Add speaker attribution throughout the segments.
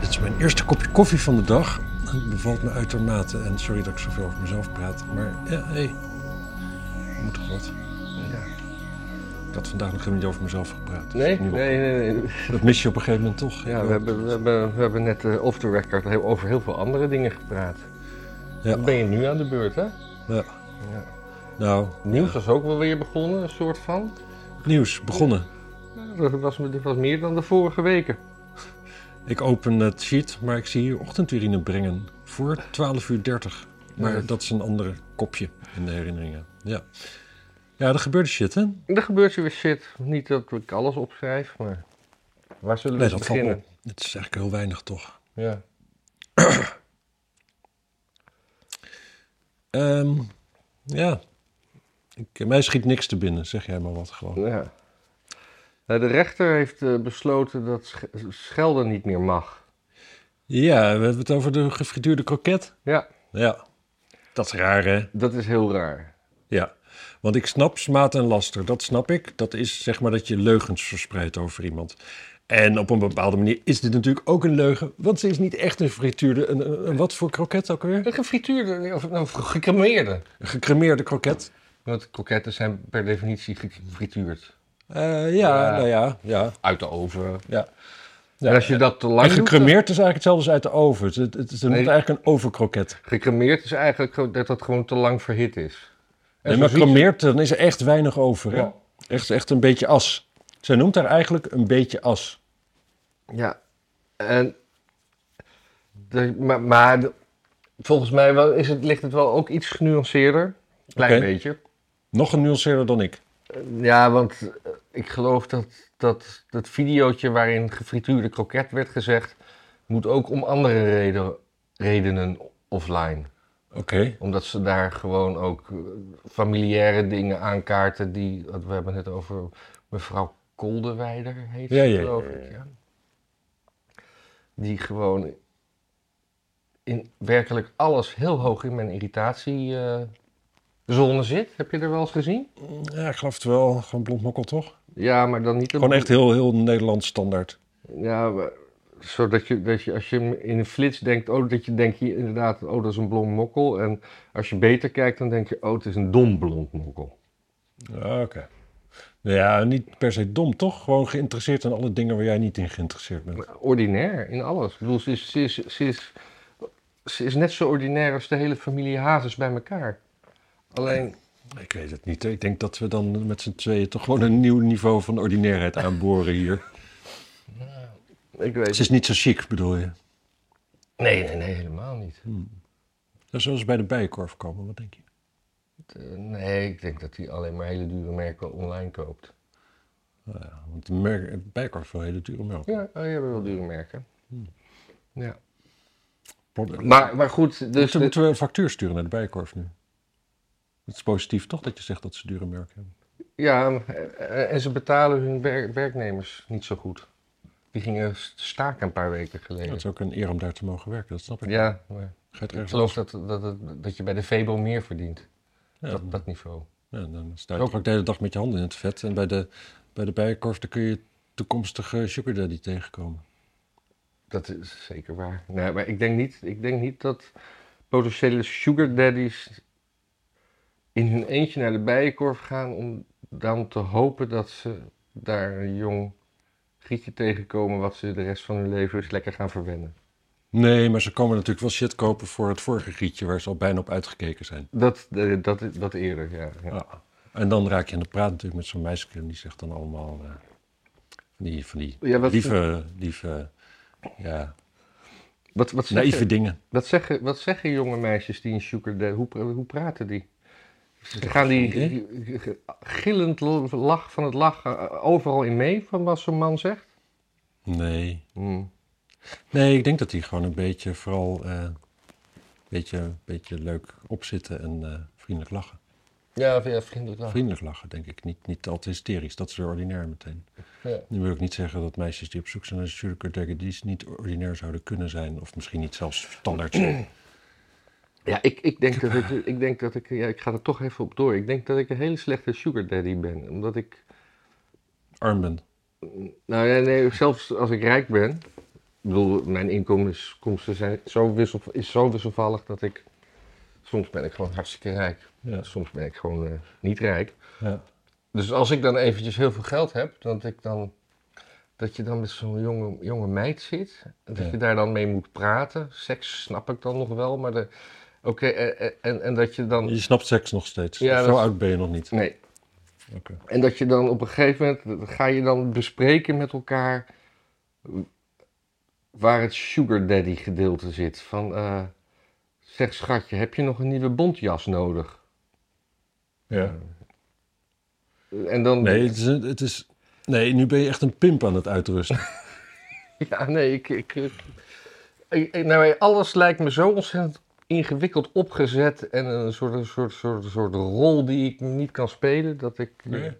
Speaker 1: Het is mijn eerste kopje koffie van de dag. En het bevalt me uitermate. En sorry dat ik zoveel over mezelf praat. Maar ja, hé. Moet toch wat?
Speaker 2: Ja.
Speaker 1: Ik had vandaag nog helemaal niet over mezelf gepraat. Dus
Speaker 2: Nee?
Speaker 1: nu op.
Speaker 2: Nee, nee, nee.
Speaker 1: Dat mis je op een gegeven moment toch?
Speaker 2: Ja, we hebben, we hebben, we hebben net eh, off the record heel- over heel veel andere dingen gepraat.
Speaker 1: Ja.
Speaker 2: Dan ben je nu aan de beurt, hè?
Speaker 1: Ja.
Speaker 2: Ja.
Speaker 1: Nou,
Speaker 2: Nieuws was ook wel weer begonnen, een soort van.
Speaker 1: nieuws begonnen.
Speaker 2: Ja, Dat was, dit was meer dan de vorige weken.
Speaker 1: Ik open het sheet, maar ik zie hier ochtendurine brengen voor 12.30 uur. Maar
Speaker 2: Ja.
Speaker 1: dat is een ander kopje in de herinneringen. Ja, ja er gebeurde shit, hè?
Speaker 2: Er gebeurt hier weer shit. Niet dat ik alles opschrijf, maar waar zullen we
Speaker 1: Nee, dat valt me
Speaker 2: beginnen?
Speaker 1: op. Het is eigenlijk heel weinig, toch?
Speaker 2: Ja.
Speaker 1: Ehm, ja. Ik, eh, mij schiet niks te binnen, zeg jij maar wat gewoon.
Speaker 2: ja. Nou, de rechter heeft eh, besloten dat sch- schelden niet meer mag.
Speaker 1: Ja, we hebben het over de gefrituurde kroket.
Speaker 2: Ja,
Speaker 1: Ja, dat is raar, hè?
Speaker 2: dat is heel raar.
Speaker 1: Ja, want ik snap smaad en laster, dat snap ik. Dat is zeg maar dat je leugens verspreidt over iemand. En op een bepaalde manier is dit natuurlijk ook een leugen, want ze is niet echt een frituurde, een, een- een wat voor kroket ook weer?
Speaker 2: Een gefrituurde, of nou, gecremeerde.
Speaker 1: Een gecremeerde kroket.
Speaker 2: Want kroketten zijn per definitie gefrituurd.
Speaker 1: Eh, ja,
Speaker 2: Ja.
Speaker 1: nou ja, ja,
Speaker 2: Uit de oven.
Speaker 1: ja.
Speaker 2: en als je dat te lang
Speaker 1: En
Speaker 2: doet,
Speaker 1: gecremeerd is eigenlijk hetzelfde als uit de oven. Het, het, het is een-
Speaker 2: Nee.
Speaker 1: eigenlijk een overkroket.
Speaker 2: dan- Gecremeerd is eigenlijk gewoon dat dat gewoon te lang verhit is.
Speaker 1: En
Speaker 2: zo
Speaker 1: maar
Speaker 2: zie je-
Speaker 1: gecremeerd, dan is er echt weinig over. hè?
Speaker 2: Ja.
Speaker 1: Echt, echt een beetje as. Zij noemt daar eigenlijk een beetje as.
Speaker 2: Ja. En, de- maar maar de- volgens mij wel, is het, ligt het wel ook iets genuanceerder. Klein
Speaker 1: Oké.
Speaker 2: beetje.
Speaker 1: Nog genuanceerder dan ik.
Speaker 2: Ja, want eh, ik geloof dat, dat dat videootje waarin gefrituurde kroket werd gezegd, moet ook om andere reden, redenen offline.
Speaker 1: Oké.
Speaker 2: Omdat ze daar gewoon ook eh, familiaire dingen aankaarten die, want we hebben het over mevrouw Koldewijder heet
Speaker 1: Ja,
Speaker 2: ze
Speaker 1: ja,
Speaker 2: geloof
Speaker 1: ja, ja,
Speaker 2: ik, ja. Die gewoon in werkelijk alles heel hoog in mijn irritatiezone zit. Heb je er wel eens gezien?
Speaker 1: Ja, ik geloof het wel. Gewoon blond mokkel, toch?
Speaker 2: Ja, maar dan niet... de-
Speaker 1: Gewoon echt heel, heel Nederlands standaard.
Speaker 2: Ja, maar- zodat je, dat je als je hem in een flits denkt, oh, dat je denkt hier inderdaad, oh, dat is een blond mokkel. En als je beter kijkt, dan denk je, oh, het is een dom blond mokkel.
Speaker 1: Ja, Oké. Nou Ja, niet per se dom, toch? Gewoon geïnteresseerd in alle dingen waar jij niet in geïnteresseerd bent.
Speaker 2: Ordinair in alles. Ik bedoel, ze is, ze is, ze is, ze is net zo ordinair als de hele familie Hazes bij elkaar. Alleen,
Speaker 1: Ik weet het niet. Ik denk dat we dan met z'n tweeën toch gewoon een nieuw niveau van ordinairheid aanboren hier.
Speaker 2: ik weet
Speaker 1: Het is niet zo chic, bedoel je?
Speaker 2: Nee, nee, nee, helemaal niet.
Speaker 1: Dat is zoals bij de bijenkorf komen, wat denk je?
Speaker 2: Eh, nee, ik denk dat hij alleen maar hele dure merken online koopt.
Speaker 1: Nou ja, want de merk- de bijenkorf wil hele dure melk.
Speaker 2: Ja, oh, je hebt wel dure merken.
Speaker 1: Hmm.
Speaker 2: Ja.
Speaker 1: Product.
Speaker 2: Maar, maar goed, dus...
Speaker 1: Moeten,
Speaker 2: de-
Speaker 1: moeten we een factuur sturen naar de bijenkorf nu? Het is positief toch dat je zegt dat ze dure merken hebben?
Speaker 2: Ja, eh, en ze betalen hun wer- werknemers niet zo goed. Die gingen st- staken een paar weken
Speaker 1: Het
Speaker 2: geleden.
Speaker 1: is ook een eer om daar te mogen werken, dat snap ik.
Speaker 2: Ja, maar
Speaker 1: Ga je het
Speaker 2: ik
Speaker 1: ergens
Speaker 2: geloof dat, dat, dat, dat je bij de Vebo meer verdient.
Speaker 1: Ja.
Speaker 2: Dat, dat niveau.
Speaker 1: Ja, dan sta je toch ook de hele dag met je handen in het vet. En bij de, bij de bijenkorf dan kun je toekomstige sugar daddy tegenkomen.
Speaker 2: Dat is zeker waar. Nee, maar ik denk niet, ik denk niet dat potentiële sugar daddies in hun eentje naar de bijenkorf gaan om dan te hopen dat ze daar een jong gietje tegenkomen wat ze de rest van hun leven eens lekker gaan verwennen.
Speaker 1: Nee, maar ze komen natuurlijk wel shit kopen voor het vorige gietje waar ze al bijna op uitgekeken zijn.
Speaker 2: Dat, eh, dat, dat eerder, ja. ja.
Speaker 1: Ja. En dan raak je aan de praat natuurlijk met zo'n meisje en die zegt dan allemaal eh, van die, van die
Speaker 2: Ja, wat-
Speaker 1: lieve, lieve ja,
Speaker 2: Wat, wat,
Speaker 1: naïeve
Speaker 2: zeggen,
Speaker 1: dingen.
Speaker 2: wat, zeggen, wat zeggen jonge meisjes die een sugar daddy... Hoe, pra- hoe praten die? Ze gaan die gillend l- lach van het lachen eh, overal in mee van wat zo'n man zegt?
Speaker 1: Nee.
Speaker 2: Hmm.
Speaker 1: nee, ik denk dat die gewoon een beetje vooral eh, een beetje, beetje leuk opzitten en eh, vriendelijk lachen.
Speaker 2: Ja, ja, vriendelijk lachen.
Speaker 1: Vriendelijk lachen, denk ik. Niet, niet al te hysterisch. Dat is weer ordinair meteen.
Speaker 2: Ja.
Speaker 1: Nu wil ik niet zeggen dat meisjes die op zoek zijn naar een sugar daddies niet ordinair zouden kunnen zijn. Of misschien niet zelfs standaard zijn.
Speaker 2: Ja, ik, ik denk dat ik... Ik, denk dat ik, ja, ik ga er toch even op door. Ik denk dat ik een hele slechte sugar daddy ben. Omdat ik...
Speaker 1: Arm bent.
Speaker 2: Nou ja, nee, zelfs als ik rijk ben... Ik bedoel, mijn inkomsten zijn zo, wissel, is zo wisselvallig dat ik... Soms ben ik gewoon hartstikke rijk.
Speaker 1: Ja.
Speaker 2: Soms ben ik gewoon eh, niet rijk.
Speaker 1: Ja.
Speaker 2: Dus als ik dan eventjes heel veel geld heb, dat ik dan... Dat je dan met zo'n jonge, jonge meid zit. en Dat
Speaker 1: Ja.
Speaker 2: je daar dan mee moet praten. Seks snap ik dan nog wel, maar... De, Oké, eh, eh, en, en dat je dan...
Speaker 1: Je snapt seks nog steeds.
Speaker 2: Ja,
Speaker 1: Zo
Speaker 2: dat-
Speaker 1: oud ben je nog niet.
Speaker 2: Nee.
Speaker 1: Oké.
Speaker 2: En dat je dan op een gegeven moment, dat ga je dan bespreken met elkaar waar het sugar daddy gedeelte zit. Van, eh, zeg schatje, heb je nog een nieuwe bontjas nodig?
Speaker 1: Ja.
Speaker 2: En dan,
Speaker 1: Nee, het is, een- het is... Nee, nu ben je echt een pimp aan het uitrusten.
Speaker 2: ja, nee, ik, ik, ik- ik- ik- nou, alles lijkt me zo ontzettend ingewikkeld opgezet en een soort, een soort, soort, soort rol die ik niet kan spelen, dat ik, eh,
Speaker 1: Nee.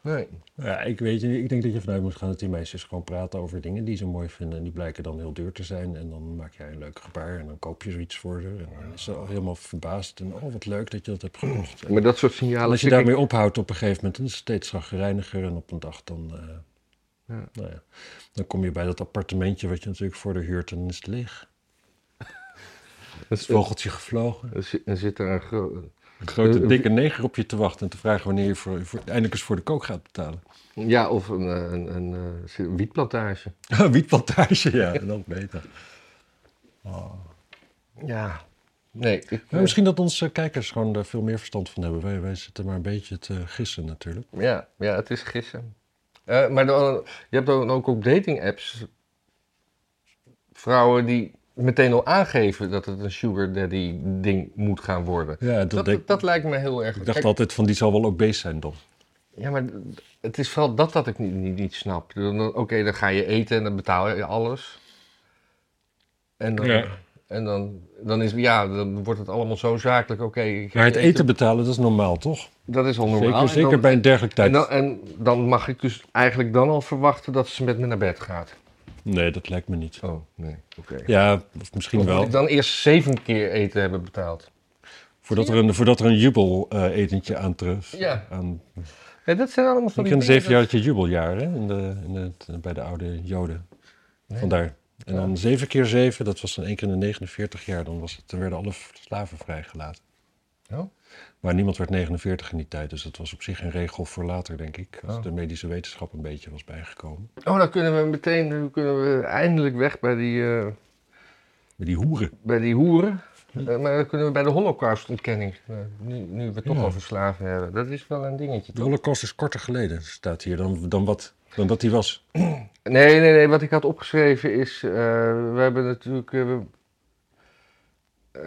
Speaker 2: nee.
Speaker 1: Ja, ik weet niet. Ik denk dat je vanuit moet gaan dat die meisjes gewoon praten over dingen die ze mooi vinden. En die blijken dan heel duur te zijn. En dan maak jij een leuk gebaar en dan koop je zoiets voor ze. En dan is ze al helemaal verbaasd. En oh, wat leuk dat je dat hebt gekocht. En
Speaker 2: Maar dat soort signalen
Speaker 1: als je
Speaker 2: tik ik-
Speaker 1: daarmee ophoudt op een gegeven moment, dan is het steeds chagrijniger. En op een dag dan, eh,
Speaker 2: Ja.
Speaker 1: Nou ja, dan kom je bij dat appartementje wat je natuurlijk voor de huurt en dan is het leeg. Het vogeltje gevlogen.
Speaker 2: Er zit- er zit er een gro-
Speaker 1: Een
Speaker 2: Eh,
Speaker 1: grote dikke neger op je te wachten en te vragen wanneer je voor, voor, eindelijk eens voor de kook gaat betalen.
Speaker 2: Ja, of een, eh, een, een, eh, zit een wietplantage.
Speaker 1: Wietplantage, ja, nog beter.
Speaker 2: Ja. Nee, ik,
Speaker 1: Maar misschien dat onze kijkers gewoon er veel meer verstand van hebben. Wij, wij zitten maar een beetje te gissen natuurlijk.
Speaker 2: ja, ja, het is gissen. Eh, maar dan, je hebt dan ook op dating apps vrouwen die meteen al aangeven dat het een sugar daddy ding moet gaan worden.
Speaker 1: Ja, dat
Speaker 2: Dat,
Speaker 1: denk-
Speaker 2: dat, lijkt me heel erg.
Speaker 1: Ik dacht
Speaker 2: Kijk,
Speaker 1: altijd van die zal wel obese zijn dan.
Speaker 2: Ja, maar het is vooral dat dat ik niet, niet, niet snap. Dan- dan- Oké, dan ga je eten en dan betaal je alles. En dan,
Speaker 1: Ja.
Speaker 2: en dan, dan, is, ja, dan wordt het allemaal zo zakelijk. Oké, ik ga
Speaker 1: Maar het eten betalen, dat is normaal toch?
Speaker 2: Dat Nou- is al normaal.
Speaker 1: Zeker,
Speaker 2: En dan-
Speaker 1: zeker bij een dergelijk
Speaker 2: en
Speaker 1: tijd.
Speaker 2: dan, en dan mag ik dus eigenlijk dan al verwachten dat ze met me naar bed gaat.
Speaker 1: Nee, dat lijkt me niet.
Speaker 2: Oh, nee, oké.
Speaker 1: Ja, of misschien
Speaker 2: Dan moet
Speaker 1: wel.
Speaker 2: ik dan eerst zeven keer eten hebben betaald.
Speaker 1: Voordat er een, voordat er een jubel-etentje aantreft.
Speaker 2: Ja.
Speaker 1: Aan,
Speaker 2: Ja, dat zijn allemaal van
Speaker 1: ik
Speaker 2: die
Speaker 1: een
Speaker 2: dingen
Speaker 1: zevenjaartje jubiljaar hè? In de, in het- bij de oude Joden. Vandaar. En dan zeven keer zeven, dat was dan één keer in de 49 jaar. Dan, was het, dan werden alle slaven vrijgelaten.
Speaker 2: dat- Oh,
Speaker 1: Maar niemand werd 49 in die tijd, dus dat was op zich een regel voor later, denk ik. Als de medische wetenschap een beetje was bijgekomen.
Speaker 2: Oh, dan kunnen we meteen dan kunnen we eindelijk weg bij die, eh,
Speaker 1: Maar die hoeren.
Speaker 2: bij die hoeren. Eh, maar dan kunnen we bij de holocaustontkenning. Eh, nu, nu we toch al over slaven hebben. Dat is wel een dingetje.
Speaker 1: De
Speaker 2: Toch?
Speaker 1: holocaust is korter geleden, staat hier, dan, dan, wat, dan dat die was.
Speaker 2: Nee, nee, nee. Wat ik had opgeschreven is, eh, we hebben natuurlijk, eh, we, eh,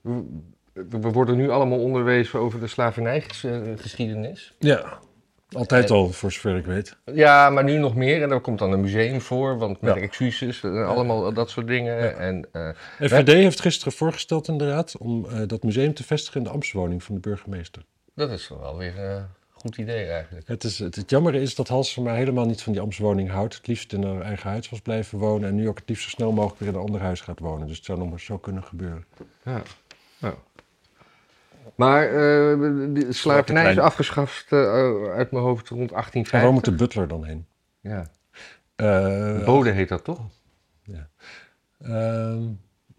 Speaker 2: we- we worden nu allemaal onderwezen over de slavernijgeschiedenis.
Speaker 1: Ja, altijd al, voor zover ik weet.
Speaker 2: Ja, maar nu nog meer. En daar komt dan een museum voor, want met
Speaker 1: Ja.
Speaker 2: excuses en allemaal dat soort dingen. En, eh,
Speaker 1: FVD heeft gisteren voorgesteld inderdaad om eh, dat museum te vestigen in de ambtswoning van de burgemeester.
Speaker 2: dat is wel weer eh, een goed idee eigenlijk.
Speaker 1: Het, is, het, het jammere is dat Halsema helemaal niet van die ambtswoning houdt. Het liefst in haar eigen huis was blijven wonen en nu ook het liefst zo snel mogelijk weer in een ander huis gaat wonen. Dus het zou nog maar zo kunnen gebeuren.
Speaker 2: Ja. Maar eh, de slavernij is
Speaker 1: klein-
Speaker 2: afgeschaft eh, uit mijn hoofd rond
Speaker 1: En waar
Speaker 2: 1850.
Speaker 1: moet de butler dan heen?
Speaker 2: Ja.
Speaker 1: Eh,
Speaker 2: Bode heet dat toch?
Speaker 1: Ehm,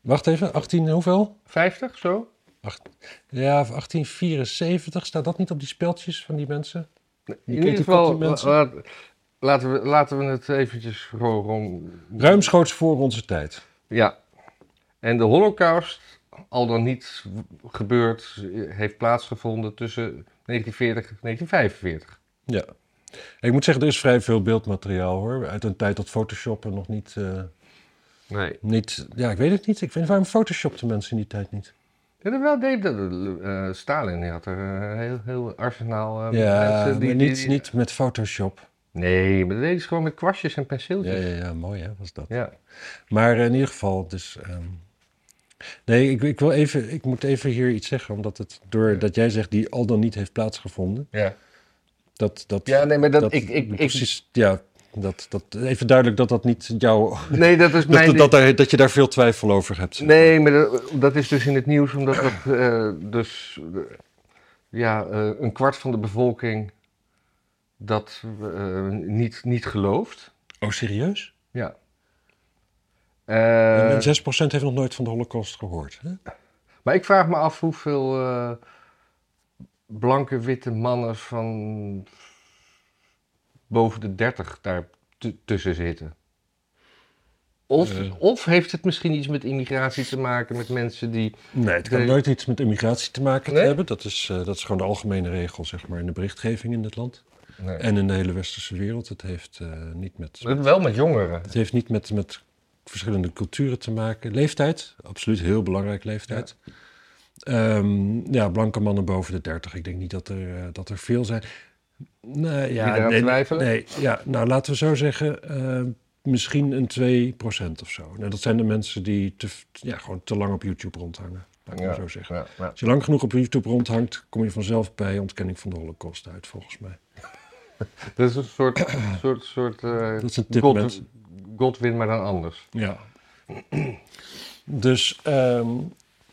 Speaker 1: wacht even, 18 hoeveel?
Speaker 2: 50, zo?
Speaker 1: Acht- ja, 1874, staat dat niet op die speltjes van die mensen?
Speaker 2: In
Speaker 1: kent
Speaker 2: ieder
Speaker 1: die kant,
Speaker 2: geval,
Speaker 1: die mensen?
Speaker 2: la- laat- laten, we, laten we het eventjes gewoon... gewoon-
Speaker 1: Ruimschoots voor onze tijd.
Speaker 2: Ja. En de holocaust, al dan niet gebeurd, heeft plaatsgevonden tussen 1940 en 1945.
Speaker 1: Ja. Ik moet zeggen, er is vrij veel beeldmateriaal hoor. Uit een tijd dat Photoshop er nog niet, eh,
Speaker 2: Nee.
Speaker 1: niet... Ja, ik weet het niet. Ik vind, waarom Photoshopten mensen in die tijd niet?
Speaker 2: Ja, wel deed dat. eh, Stalin die had er een heel, heel arsenaal eh,
Speaker 1: ja,
Speaker 2: mensen
Speaker 1: maar niet, niet met Photoshop.
Speaker 2: Nee, maar dat deden ze gewoon met kwastjes en
Speaker 1: Ja,
Speaker 2: penseeltjes.
Speaker 1: ja, ja, mooi hè, was dat.
Speaker 2: Ja.
Speaker 1: Maar eh, in ieder geval, dus... ehm, nee, ik, ik, wil even, ik moet even hier iets zeggen, omdat het doordat jij zegt die al dan niet heeft plaatsgevonden,
Speaker 2: Ja.
Speaker 1: dat... dat
Speaker 2: Ja, nee, maar dat- ik- ik- ik-
Speaker 1: precies, ja, dat, dat, even duidelijk dat dat niet jouw...
Speaker 2: Nee, dat is mijn...
Speaker 1: Dat, dat, daar, dat je daar veel twijfel over hebt.
Speaker 2: Nee, maar dat, dat is dus in het nieuws omdat dat eh, dus eh, ja, eh, een kwart van de bevolking dat eh, niet, niet gelooft.
Speaker 1: Oh, serieus?
Speaker 2: Ja. Eh,
Speaker 1: En 6% heeft nog nooit van de holocaust gehoord. Hè?
Speaker 2: Maar ik vraag me af hoeveel eh, blanke witte mannen van boven de 30 daar tu- tussen zitten. Of,
Speaker 1: Eh.
Speaker 2: of heeft het misschien iets met immigratie te maken, met mensen die.
Speaker 1: Nee, het kan
Speaker 2: Nee.
Speaker 1: nooit iets met immigratie te maken te
Speaker 2: Nee?
Speaker 1: hebben. Dat is, eh, dat is gewoon de algemene regel, zeg maar, in de berichtgeving in dit land. En in de hele westerse wereld. Het heeft eh, niet met
Speaker 2: Wel met jongeren.
Speaker 1: Het heeft niet met, met verschillende culturen te maken. Leeftijd, absoluut heel belangrijk leeftijd. Ehm, ja, blanke mannen boven de 30. Ik denk niet dat er, eh, dat er veel zijn. Nou, ja,
Speaker 2: eraan
Speaker 1: nee,
Speaker 2: twijfelen?
Speaker 1: nee, ja, nou laten we zo zeggen, eh, misschien een 2% of zo. Nou, dat zijn de mensen die te, ja, gewoon te lang op YouTube rondhangen. Laat ik maar zo zeggen.
Speaker 2: Ja, ja.
Speaker 1: Als je lang genoeg op YouTube rondhangt, kom je vanzelf bij ontkenning van de holocaust uit, volgens mij.
Speaker 2: Dat is een soort. soort, soort eh,
Speaker 1: Dat is een tip,
Speaker 2: God-
Speaker 1: mensen.
Speaker 2: Godwin, maar dan anders.
Speaker 1: Ja. Dus ehm,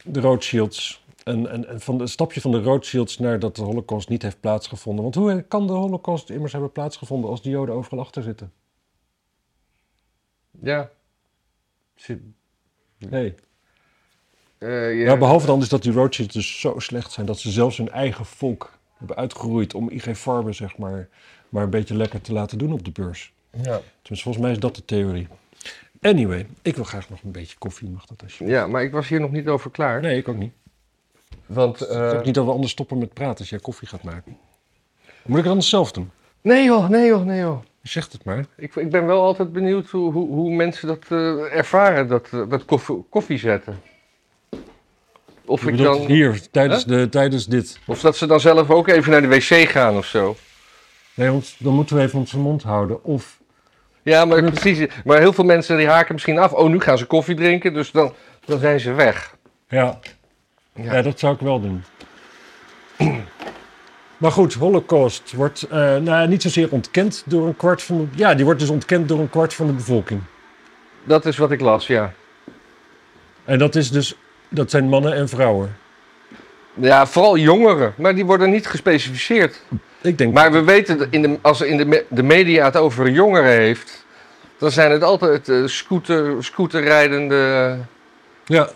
Speaker 1: de Rothschilds. En, en, en van de- een stapje van de Rothschilds naar dat de Holocaust niet heeft plaatsgevonden. Want hoe kan de Holocaust immers hebben plaatsgevonden als de Joden overal achter zitten?
Speaker 2: Ja. Zit-
Speaker 1: Nee.
Speaker 2: eh, ja.
Speaker 1: Ja, behalve dan is dat die Rothschilds dus zo slecht zijn dat ze zelfs hun eigen volk hebben uitgeroeid om IG Farben, zeg maar, maar een beetje lekker te laten doen op de beurs.
Speaker 2: ja.
Speaker 1: Tenminste, volgens mij is dat de theorie. Anyway, ik wil graag nog een beetje koffie, mag dat alsjeblieft?
Speaker 2: ja, maar ik was hier nog niet over klaar.
Speaker 1: Nee, ik ook niet.
Speaker 2: Want.
Speaker 1: Ik
Speaker 2: eh,
Speaker 1: hoop niet dat we anders stoppen met praten als jij koffie gaat maken. Moet ik het anders zelf doen?
Speaker 2: Nee joh, nee joh, nee joh.
Speaker 1: Zeg het maar.
Speaker 2: Ik, ik ben wel altijd benieuwd hoe, hoe, hoe mensen dat eh, ervaren, dat, eh, dat koffie, koffie zetten. Of,
Speaker 1: Je
Speaker 2: ik
Speaker 1: bedoelt
Speaker 2: dan,
Speaker 1: hier, tijdens, de, tijdens dit.
Speaker 2: of dat ze dan zelf ook even naar de wc gaan of zo.
Speaker 1: Nee, want dan moeten we even onze mond houden. Of,
Speaker 2: Ja, maar precies. Maar heel veel mensen die haken misschien af. Oh, nu gaan ze koffie drinken, dus dan, dan zijn ze weg.
Speaker 1: ja. ja. dat zou ik wel doen. Maar goed, Holocaust wordt eh, nou, ja, niet zozeer ontkend door een kwart van de... Ja, die wordt dus ontkend door een kwart van de bevolking.
Speaker 2: Dat is wat ik las, ja.
Speaker 1: En dat is dus... Dat zijn mannen en vrouwen.
Speaker 2: Ja, vooral jongeren, maar die worden niet gespecificeerd.
Speaker 1: Ik denk...
Speaker 2: Maar we weten, dat in de, als in de, me- de media het over jongeren heeft, dan zijn het altijd eh, scooter, scooterrijdende... eh,
Speaker 1: ja,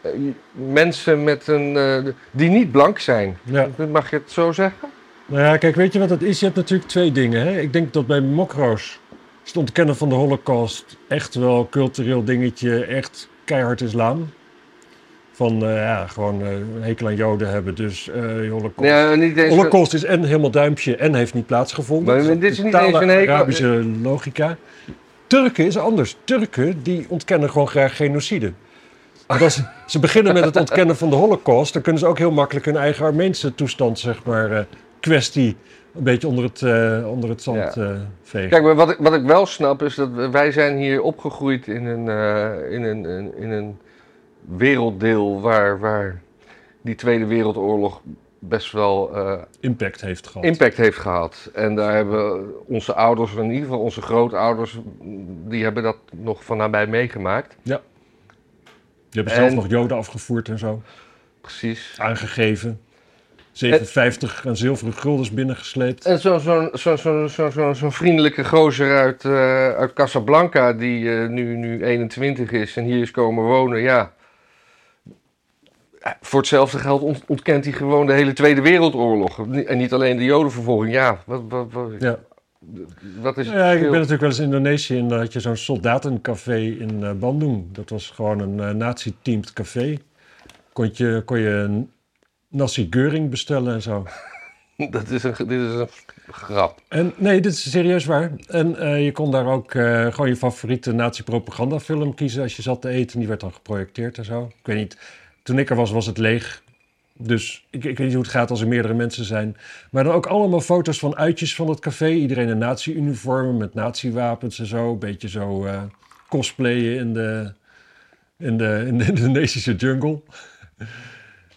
Speaker 2: Eh, mensen met een, eh, die niet blank zijn.
Speaker 1: ja.
Speaker 2: Mag je het zo zeggen?
Speaker 1: Nou ja, kijk, weet je wat dat is? Je hebt natuurlijk twee dingen. Hè? Ik denk dat bij Mokro's is het ontkennen van de holocaust echt wel cultureel dingetje, echt keihard islam. Van, eh, ja, gewoon eh, een hekel aan joden hebben, dus eh holocaust.
Speaker 2: Nee, niet eens.
Speaker 1: Holocaust is en helemaal duimpje en heeft niet plaatsgevonden. Dus
Speaker 2: Maar
Speaker 1: Dat
Speaker 2: dit is niet
Speaker 1: totale
Speaker 2: eens een hekel-
Speaker 1: Arabische logica. Turken is anders. Turken die ontkennen gewoon graag genocide. Want als ze beginnen met het ontkennen van de holocaust... dan kunnen ze ook heel makkelijk hun eigen Armeense toestand, zeg maar... eh, kwestie een beetje onder het, eh, onder het zand eh, vegen.
Speaker 2: Kijk, maar wat ik, wat ik wel snap is dat we- wij zijn hier opgegroeid in een, eh, in een, in, in een werelddeel waar, waar die Tweede Wereldoorlog best wel eh,
Speaker 1: Impact heeft gehad.
Speaker 2: impact heeft gehad. En daar hebben onze ouders, in ieder geval onze grootouders, die hebben dat nog van nabij meegemaakt.
Speaker 1: Je hebt zelf
Speaker 2: en-
Speaker 1: nog joden afgevoerd en zo.
Speaker 2: Precies.
Speaker 1: Aangegeven. 57 aan zilveren guldens binnengesleept.
Speaker 2: En zo'n zo, zo, zo, zo, zo, zo'n vriendelijke gozer uit, eh, uit Casablanca, die eh, nu, nu 21 is en hier is komen wonen, ja. Voor hetzelfde geld ont- ontkent hij gewoon de hele Tweede Wereldoorlog. Ni- En niet alleen de Jodenvervolging. Ja, wat, wat, wat,
Speaker 1: Ja.
Speaker 2: wat is het
Speaker 1: Ja, ik ben
Speaker 2: verschil?
Speaker 1: natuurlijk wel eens in Indonesië en daar had je zo'n soldatencafé in eh Bandung. Dat was gewoon een eh, nazi-teamed café. Kon je, kon je een nasi geuring bestellen en zo.
Speaker 2: Dat is een, ge- dit is een grap.
Speaker 1: En nee, dit is serieus waar. En eh, je kon daar ook eh, gewoon je favoriete nazi-propagandafilm kiezen als je zat te eten. Die werd dan geprojecteerd en zo. Ik weet niet, toen ik er was, was het leeg. Dus ik, ik weet niet hoe het gaat als er meerdere mensen zijn. Maar dan ook allemaal foto's van uitjes van het café. Iedereen in nazi-uniformen met nazi-wapens en zo. Een beetje zo eh, cosplayen in de, in de, in de Indonesische jungle.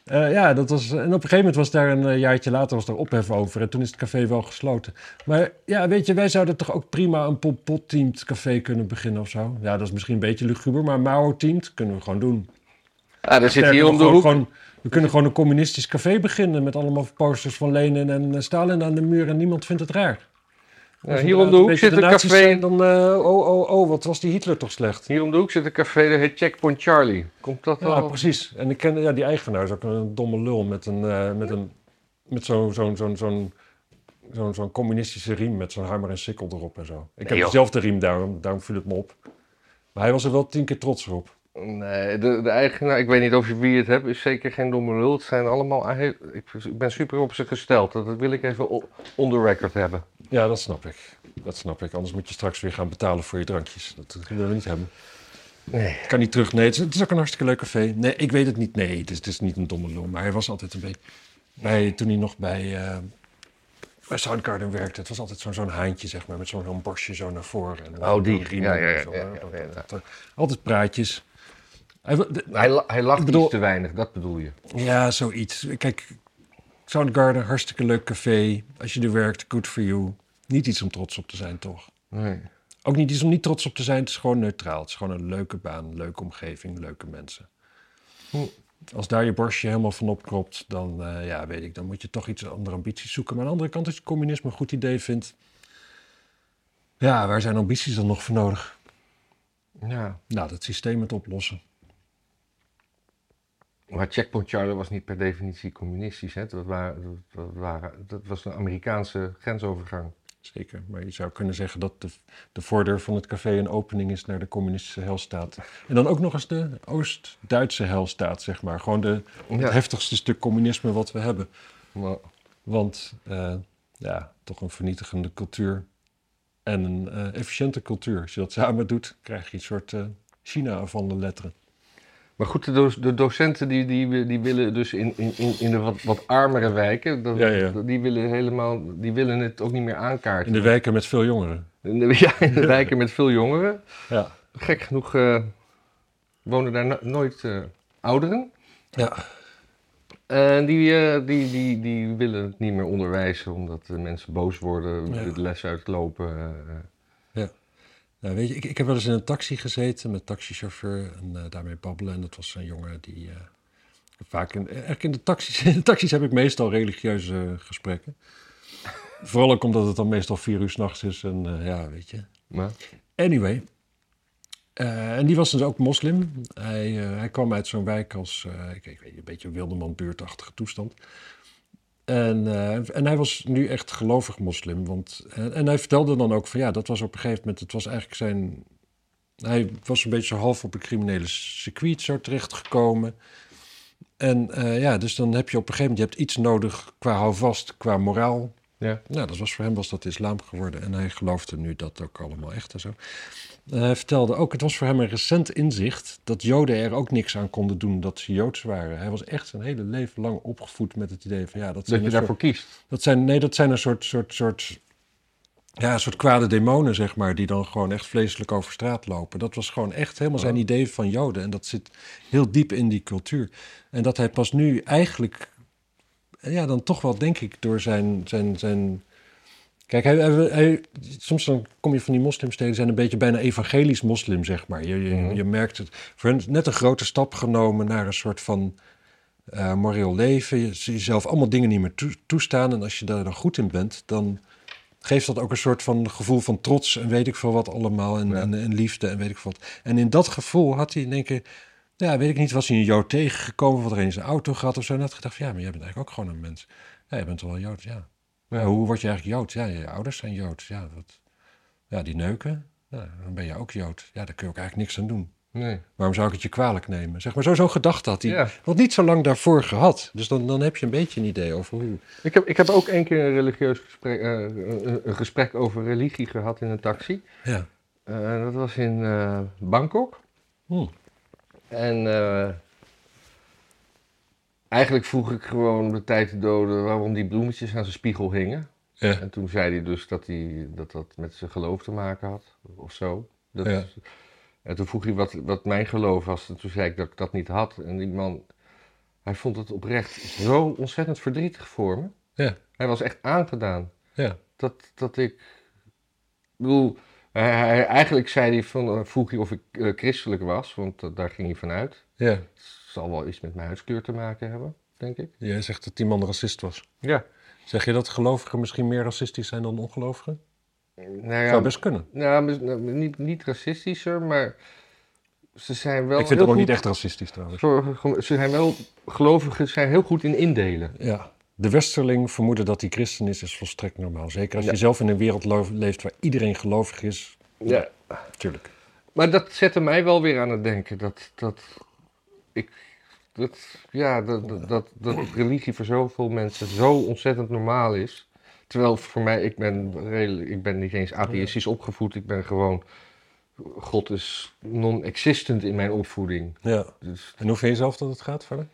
Speaker 1: Eh, ja, dat was, en op een gegeven moment was daar een eh, jaartje later was daar ophef over. En toen is het café wel gesloten. Maar ja, weet je, wij zouden toch ook prima een Pol Pot-teamed café kunnen beginnen of zo. Ja, dat is misschien een beetje luguber, maar Mao-teamed kunnen we gewoon doen.
Speaker 2: Ah, daar zit
Speaker 1: Sterker
Speaker 2: hier om
Speaker 1: nog,
Speaker 2: de hoek.
Speaker 1: gewoon- gewoon- we kunnen gewoon een communistisch café beginnen met allemaal posters van Lenin en eh, Stalin aan de muur en niemand vindt het raar. Als we
Speaker 2: hier om de
Speaker 1: een
Speaker 2: hoek
Speaker 1: beetje
Speaker 2: zit een
Speaker 1: nazi's
Speaker 2: café.
Speaker 1: zijn, Dan, eh, oh, oh, oh, wat was die Hitler toch slecht?
Speaker 2: Hier om de hoek zit een café, dat heet Checkpoint Charlie. Komt dat
Speaker 1: Ja,
Speaker 2: al?
Speaker 1: precies. En ik ken ja, die eigenaar, is ook een domme lul met, een, eh, met, een, met zo'n zo'n zo'n zo'n zo'n zo'n communistische riem met zo'n hamer en sikkel erop en zo. Ik
Speaker 2: joh.
Speaker 1: heb zelf de riem, daarom, daarom viel het me op. Maar hij was er wel tien keer trots op.
Speaker 2: Nee, de, de eigenaar, ik weet niet of je wie het hebt, is zeker geen domme lul. Het zijn allemaal, eigen- ik, ik ben super op ze gesteld. Dat wil ik even o- on the record hebben.
Speaker 1: Ja, dat snap ik. Dat snap ik. Anders moet je straks weer gaan betalen voor je drankjes. Dat willen we niet hebben.
Speaker 2: Nee.
Speaker 1: Ik kan niet terug. Nee, het is, het is ook een hartstikke leuk café. Nee, ik weet het niet. Nee, het is, het is niet een domme lul. Maar hij was altijd een beetje... Bij, toen hij nog bij, eh, bij Soundgarden werkte, het was altijd zo'n zo'n haantje, zeg maar. Met zo'n zo'n borstje zo naar voren. En
Speaker 2: Oh, die.
Speaker 1: en riemen
Speaker 2: Ja, ja, ja,
Speaker 1: en zo.
Speaker 2: ja, ja,
Speaker 1: Dat-
Speaker 2: ja, ja.
Speaker 1: dat- dat- Altijd praatjes. Hij, wa- de-
Speaker 2: Hij, la- hij lacht
Speaker 1: Ik bedoel-
Speaker 2: iets te weinig, dat bedoel je.
Speaker 1: ja, zoiets. Kijk, Soundgarden, hartstikke leuk café. Als je er werkt, good for you. Niet iets om trots op te zijn, toch?
Speaker 2: Nee.
Speaker 1: Ook niet iets om niet trots op te zijn. Het is gewoon neutraal. Het is gewoon een leuke baan, leuke omgeving, leuke mensen.
Speaker 2: Hm.
Speaker 1: Als daar je borstje helemaal van opkropt, dan eh, ja, weet ik, dan moet je toch iets andere ambities zoeken. Maar aan de andere kant, als je communisme een goed idee vindt, ja, waar zijn ambities dan nog voor nodig?
Speaker 2: Ja.
Speaker 1: Nou, dat systeem het oplossen.
Speaker 2: Maar Checkpoint Charlie was niet per definitie communistisch. Hè? Dat, waren, dat, dat waren, dat was een Amerikaanse grensovergang.
Speaker 1: Zeker, maar je zou kunnen zeggen dat de, de voordeur van het café een opening is naar de communistische helstaat. En dan ook nog eens de Oost-Duitse helstaat, zeg maar. Gewoon de, het
Speaker 2: Ja.
Speaker 1: heftigste stuk communisme wat we hebben.
Speaker 2: Maar,
Speaker 1: Want eh, ja, toch een vernietigende cultuur en een eh, efficiënte cultuur. Als je dat samen doet, krijg je een soort eh, China van de letteren.
Speaker 2: maar goed, de, do- de docenten die, die, die willen dus in, in, in, in de wat, wat armere wijken, dat-
Speaker 1: Ja, ja.
Speaker 2: die willen helemaal, die willen het ook niet meer aankaarten.
Speaker 1: In de wijken met veel jongeren.
Speaker 2: In de- ja, in de wijken met veel jongeren.
Speaker 1: Ja,
Speaker 2: Gek genoeg eh, wonen daar no- nooit eh, ouderen.
Speaker 1: ja.
Speaker 2: En die, eh, die, die, die willen het niet meer onderwijzen omdat de mensen boos worden,
Speaker 1: Ja.
Speaker 2: de les uitlopen. eh.
Speaker 1: Nou, weet je, ik, ik heb wel eens in een taxi gezeten met taxichauffeur en eh, daarmee babbelen. En dat was een jongen die... eh, vaak in, eigenlijk in de taxis, in de taxis heb ik meestal religieuze gesprekken. Vooral ook omdat het dan meestal vier uur s'nachts is en eh, ja, weet je.
Speaker 2: maar,
Speaker 1: Anyway. Eh, en die was dus ook moslim. Hij, eh, hij kwam uit zo'n wijk als, eh, ik, ik weet niet, een beetje wilderman-buurtachtige toestand. En, eh, en hij was nu echt gelovig moslim. Want, en, en hij vertelde dan ook van ja, dat was op een gegeven moment, het was eigenlijk zijn... Hij was een beetje zo half op een criminele circuit zo terechtgekomen. En eh, ja, dus dan heb je op een gegeven moment, je hebt iets nodig qua houvast, qua moraal.
Speaker 2: ja.
Speaker 1: Nou, dat was voor hem was dat islam geworden. En hij geloofde nu dat ook allemaal echt en zo. En hij vertelde ook, het was voor hem een recent inzicht... dat Joden er ook niks aan konden doen dat ze Joods waren. Hij was echt zijn hele leven lang opgevoed met het idee van... ja, dat, zijn
Speaker 2: Dat je
Speaker 1: een
Speaker 2: daarvoor
Speaker 1: soort-
Speaker 2: kiest.
Speaker 1: dat zijn, nee, dat zijn een soort, soort, soort, ja, een soort kwade demonen, zeg maar... die dan gewoon echt vleeselijk over straat lopen. Dat was gewoon echt helemaal zijn
Speaker 2: Oh.
Speaker 1: idee van Joden. En dat zit heel diep in die cultuur. En dat hij pas nu eigenlijk... Ja, dan toch wel, denk ik, door zijn... zijn, zijn Kijk, hij, hij, hij- soms dan kom je van die moslimsteden, die zijn een beetje bijna evangelisch moslim, zeg maar. Je, je,
Speaker 2: Mhm.
Speaker 1: je merkt het. Voor hen is net een grote stap genomen naar een soort van eh, moreel leven. Je, ze jezelf allemaal dingen niet meer toe- toestaan. En als je daar dan goed in bent, dan geeft dat ook een soort van gevoel van trots en weet ik veel wat allemaal. En,
Speaker 2: Ja.
Speaker 1: en, en liefde en weet ik veel wat. En in dat gevoel had hij in één keer, ja, weet ik niet, was hij een Jood tegengekomen, of had er een in zijn auto gehad of zo. En had gedacht, van, ja, maar jij bent eigenlijk ook gewoon een mens. Ja, je bent wel een Jood, ja. Ja, hoe word je eigenlijk Jood? Ja, je ouders zijn Jood. Ja, dat, ja die neuken, ja, dan ben je ook Jood. Ja, daar kun je ook eigenlijk niks aan doen.
Speaker 2: Nee.
Speaker 1: Waarom zou ik het je kwalijk nemen? Zeg maar, zo- zo'n gedachte had hij.
Speaker 2: Ja.
Speaker 1: Wat niet zo lang daarvoor gehad. Dus dan, dan heb je een beetje een idee over hoe...
Speaker 2: Ik, heb, ik heb ook één keer een religieus gesprek, eh, een, een gesprek over religie gehad in een taxi.
Speaker 1: Ja.
Speaker 2: Eh, dat was in eh, Bangkok.
Speaker 1: Hm.
Speaker 2: En eh, eigenlijk vroeg ik gewoon de tijd te doden waarom die bloemetjes aan zijn spiegel hingen.
Speaker 1: Ja.
Speaker 2: En toen zei hij dus dat hij, dat, dat met zijn geloof te maken had, of zo. Dat,
Speaker 1: Ja.
Speaker 2: En toen vroeg hij wat, wat mijn geloof was. En toen zei ik dat ik dat niet had. En die man, hij vond het oprecht zo ontzettend verdrietig voor me.
Speaker 1: Ja.
Speaker 2: Hij was echt aangedaan
Speaker 1: Ja.
Speaker 2: dat, dat ik. Ik bedoel, hij, hij- eigenlijk zei hij van, eh, vroeg hij of ik eh, christelijk was, want dat- daar ging hij vanuit.
Speaker 1: Ja.
Speaker 2: Het zal wel iets met mijn huidskleur te maken hebben, denk ik.
Speaker 1: Jij zegt dat die man racist was.
Speaker 2: Ja.
Speaker 1: Zeg je dat gelovigen misschien meer racistisch zijn dan ongelovigen?
Speaker 2: Nou ja,
Speaker 1: Zou best kunnen.
Speaker 2: nou, mis- nou, niet, niet racistischer, maar ze zijn wel
Speaker 1: Ik vind
Speaker 2: heel
Speaker 1: het ook niet
Speaker 2: goed-
Speaker 1: echt racistisch trouwens.
Speaker 2: zorgen- Ze zijn wel, gelovigen zijn heel goed in indelen.
Speaker 1: Ja. De westerling vermoeden dat hij christen is, is volstrekt normaal. Zeker als
Speaker 2: Ja.
Speaker 1: je zelf in een wereld lo- leeft waar iedereen gelovig is.
Speaker 2: Ja.
Speaker 1: Tuurlijk.
Speaker 2: Maar dat zette mij wel weer aan het denken. Dat, dat, ik, dat, ja, dat, dat, dat, dat religie voor zoveel mensen zo ontzettend normaal is. Terwijl voor mij, ik ben, redelijk, ik ben niet eens atheïstisch opgevoed. Ik ben gewoon, God is non-existent in mijn opvoeding.
Speaker 1: Ja.
Speaker 2: Dus,
Speaker 1: En hoe vind je zelf dat het gaat verder?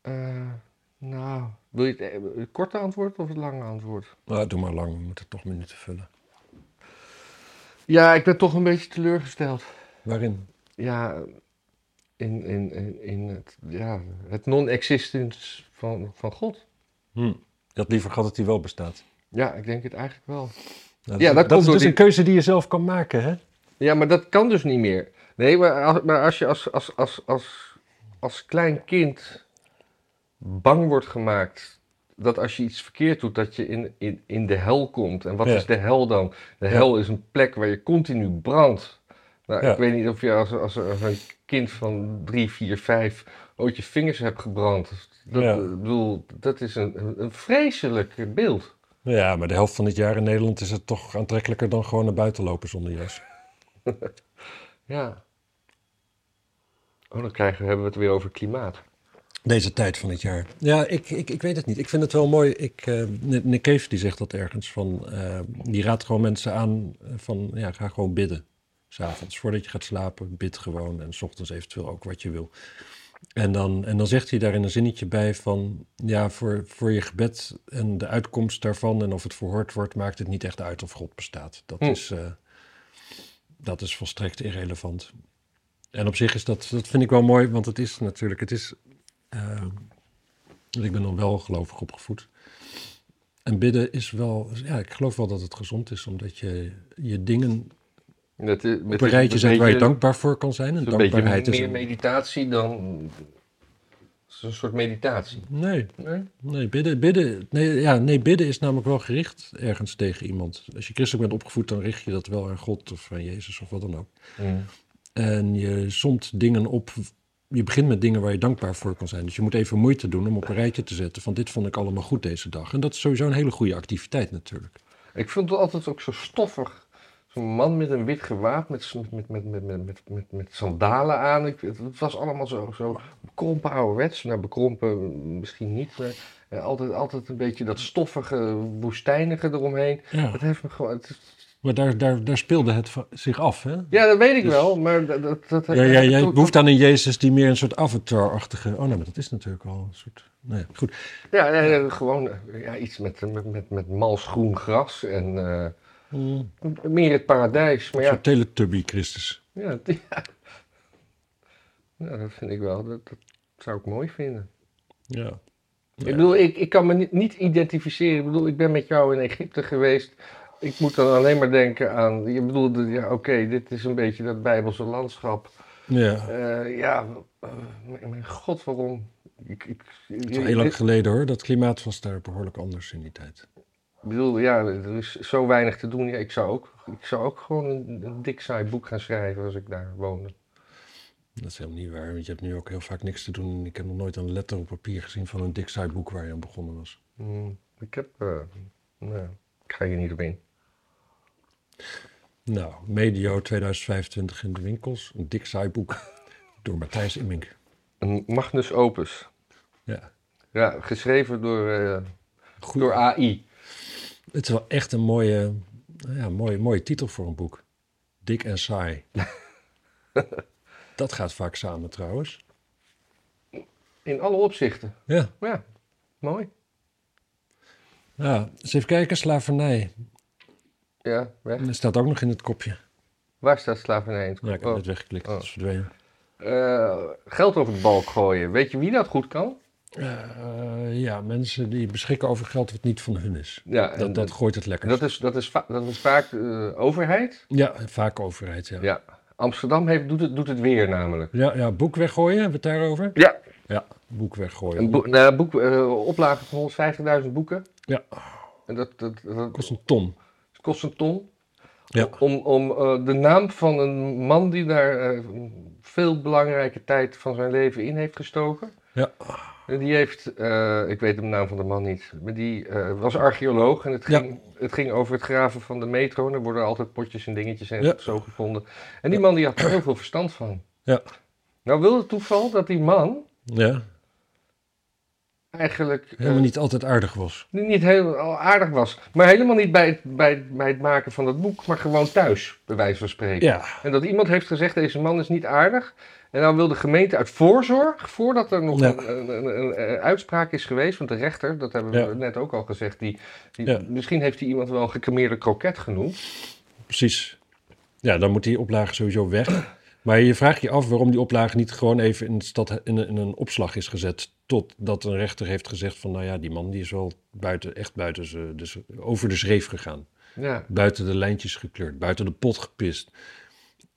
Speaker 2: eh, nou, wil je het, eh, het korte antwoord of het lange antwoord?
Speaker 1: Nou, doe maar lang, we moeten toch minuten vullen.
Speaker 2: Ja, ik ben toch een beetje teleurgesteld.
Speaker 1: Waarin?
Speaker 2: Ja, in, in, in, in het, ja, het non-existence van, van God.
Speaker 1: Hm.
Speaker 2: Hmm.
Speaker 1: Je had liever gehad dat hij wel bestaat.
Speaker 2: Ja, ik denk het eigenlijk wel.
Speaker 1: Nou,
Speaker 2: Ja, dat komt
Speaker 1: is
Speaker 2: door
Speaker 1: dus
Speaker 2: die-
Speaker 1: een keuze die je zelf kan maken, hè?
Speaker 2: Ja, maar dat kan dus niet meer. Nee, maar als, maar als je als, als, als, als, als klein kind bang wordt gemaakt dat als je iets verkeerd doet, dat je in, in, in de hel komt. En wat
Speaker 1: Ja.
Speaker 2: is de hel dan? De hel is een plek waar je continu brandt. Nou,
Speaker 1: Ja.
Speaker 2: ik weet niet of je als, als, als een kind van drie, vier, vijf ooit je vingers hebt gebrand. Dat,
Speaker 1: Ja.
Speaker 2: ik bedoel, dat is een, een- een vreselijk beeld.
Speaker 1: Ja, maar de helft van dit jaar in Nederland is het toch aantrekkelijker dan gewoon naar buiten lopen zonder jas.
Speaker 2: Ja. Oh, dan krijgen, we- hebben we het weer over klimaat.
Speaker 1: Deze tijd van het jaar. Ja, ik, ik, ik weet het niet. Ik vind het wel mooi. Ik, eh, Nick Cave die zegt dat ergens. Van, eh, die raadt gewoon mensen aan eh, van ja, ga gewoon bidden. S'avonds, voordat je gaat slapen, bid gewoon. En s ochtends eventueel ook wat je wil. En dan, en dan zegt hij daar in een zinnetje bij van... ja, voor, voor je gebed en de uitkomst daarvan... en of het verhoord wordt, maakt het niet echt uit of God bestaat. Dat,
Speaker 2: Hm.
Speaker 1: is, eh, dat is volstrekt irrelevant. En op zich is dat, dat vind ik wel mooi, want het is natuurlijk... Het is, eh, want ik ben dan wel gelovig opgevoed. En bidden is wel... Ja, ik geloof wel dat het gezond is, omdat je je dingen
Speaker 2: Dat is, met
Speaker 1: op een rijtje zet waar je
Speaker 2: dankbaar
Speaker 1: dankbaar voor kan zijn. En
Speaker 2: Het is een
Speaker 1: dankbaarheid
Speaker 2: beetje
Speaker 1: is...
Speaker 2: meer
Speaker 1: een-
Speaker 2: meditatie dan. Het is een soort meditatie.
Speaker 1: Nee,
Speaker 2: Nee?
Speaker 1: Nee, bidden, bidden, nee, ja, nee, bidden is namelijk wel gericht ergens tegen iemand. Als je christelijk bent opgevoed, dan richt je dat wel aan God of aan Jezus of wat dan ook.
Speaker 2: Mm.
Speaker 1: En je somt dingen op. Je begint met dingen waar je dankbaar voor kan zijn. Dus je moet even moeite doen om op een rijtje te zetten van dit vond ik allemaal goed deze dag. En dat is sowieso een hele goede activiteit natuurlijk.
Speaker 2: Ik vond het altijd ook zo stoffig. Zo'n man met een wit gewaad, met, z'n- met, met, met, met, met, met, met sandalen aan. Ik, het, het was allemaal zo, zo bekrompen ouderwets. Nou, bekrompen misschien niet. Maar eh, altijd, altijd een beetje dat stoffige, woestijnige eromheen.
Speaker 1: Ja,
Speaker 2: Dat heeft me gewoon, het is-
Speaker 1: maar daar, daar, daar speelde het va- zich af, hè?
Speaker 2: ja, dat weet ik
Speaker 1: Dus-
Speaker 2: wel. Maar dat, dat, dat,
Speaker 1: Ja, ja, jij
Speaker 2: toen-
Speaker 1: behoeft aan een Jezus die meer een soort avatar-achtige... Oh nee, maar dat is natuurlijk al een soort... Nee, goed.
Speaker 2: ja, ja, ja, gewoon eh, ja, iets met, met, met, met mals groen gras en... eh,
Speaker 1: Een
Speaker 2: Meer het paradijs, maar ja.
Speaker 1: soort teletubby-Christus.
Speaker 2: Ja, die- ja. Ja, dat vind ik wel. Dat, dat zou ik mooi vinden.
Speaker 1: Ja.
Speaker 2: Ik bedoel, ik, ik kan me niet, niet identificeren. Ik bedoel, ik ben met jou in Egypte geweest. Ik moet dan alleen maar denken aan. Je bedoelde, ja, oké, dit is een beetje dat Bijbelse landschap.
Speaker 1: Ja,
Speaker 2: Eh, ja, eh, mijn- mijn god, waarom? Ik, ik,
Speaker 1: het is al heel lang geleden hoor. Dat klimaat was daar behoorlijk anders in die tijd.
Speaker 2: Ik bedoel, ja, er is zo weinig te doen. Ja, ik, zou ook, ik zou ook gewoon een, een dik saai boek gaan schrijven als ik daar woonde.
Speaker 1: Dat is helemaal niet waar, want je hebt nu ook heel vaak niks te doen. Ik heb nog nooit een letter op papier gezien van een dik saai boek waar je aan begonnen was.
Speaker 2: Hmm, ik heb. eh, nou, ik ga hier niet op in.
Speaker 1: Nou, medio 2025 in de winkels. Een dik saai boek door Matthijs Immink.
Speaker 2: Een Magnus Opus.
Speaker 1: Ja,
Speaker 2: Ja, geschreven door, eh,
Speaker 1: goed.
Speaker 2: door AI.
Speaker 1: Het is wel echt een mooie, nou ja, mooie, mooie titel voor een boek. Dik en saai. dat gaat vaak samen trouwens.
Speaker 2: In alle opzichten.
Speaker 1: Ja.
Speaker 2: Ja, mooi.
Speaker 1: ja, eens even kijken. Slavernij.
Speaker 2: Ja, weg.
Speaker 1: Dat staat ook nog in het kopje.
Speaker 2: Waar staat slavernij in? het
Speaker 1: Ja, ik heb
Speaker 2: kopje?
Speaker 1: net weggeklikt.
Speaker 2: Oh.
Speaker 1: Dat is verdwenen.
Speaker 2: Eh, geld over de balk gooien. Weet je wie dat goed kan?
Speaker 1: Eh, ja, mensen die beschikken over geld wat niet van hun is.
Speaker 2: Ja, en
Speaker 1: Dat, dat gooit het lekker.
Speaker 2: dat is, dat is, va- dat is vaak eh, overheid.
Speaker 1: Ja, vaak overheid. Ja. Ja.
Speaker 2: Ja. Amsterdam heeft, doet, het, doet het weer namelijk.
Speaker 1: Ja, boek weggooien, hebben we het daarover?
Speaker 2: Ja.
Speaker 1: Ja, boek weggooien.
Speaker 2: Een boek, nou, boek, eh, oplage van 150.000 boeken.
Speaker 1: Ja.
Speaker 2: En dat, dat, dat
Speaker 1: kost een ton.
Speaker 2: kost een ton.
Speaker 1: Ja.
Speaker 2: Om, om eh, de naam van een man die daar eh, veel belangrijke tijd van zijn leven in heeft gestoken.
Speaker 1: Ja.
Speaker 2: En die heeft, eh, ik weet de naam van de man niet, maar die eh, was archeoloog en het
Speaker 1: Ja.
Speaker 2: ging, het ging over het graven van de metro. En er worden altijd potjes en dingetjes en
Speaker 1: Ja.
Speaker 2: zo gevonden. En die man die had er heel veel verstand van.
Speaker 1: Ja.
Speaker 2: Nou wil het toeval dat die man
Speaker 1: Ja,
Speaker 2: eigenlijk eh,
Speaker 1: helemaal niet altijd aardig was.
Speaker 2: die niet heel aardig was. Maar helemaal niet bij het, bij, bij het maken van dat boek, maar gewoon thuis, bij wijze van spreken.
Speaker 1: Ja,
Speaker 2: En dat iemand heeft gezegd, deze man is niet aardig. En dan wil de gemeente uit voorzorg, voordat er nog
Speaker 1: Ja.
Speaker 2: een, een, een- een uitspraak is geweest, want de rechter, dat hebben we
Speaker 1: Ja.
Speaker 2: net ook al gezegd, die, die,
Speaker 1: Ja.
Speaker 2: misschien heeft hij iemand wel een gecremeerde kroket genoemd.
Speaker 1: precies. Ja, dan moet die oplage sowieso weg. Maar je vraagt je af waarom die oplage niet gewoon even in, de stad, in, een- in een opslag is gezet. Totdat een rechter heeft gezegd van, nou ja, die man die is wel buiten, echt buiten ze, dus over de schreef gegaan.
Speaker 2: Ja,
Speaker 1: Buiten de lijntjes gekleurd, buiten de pot gepist.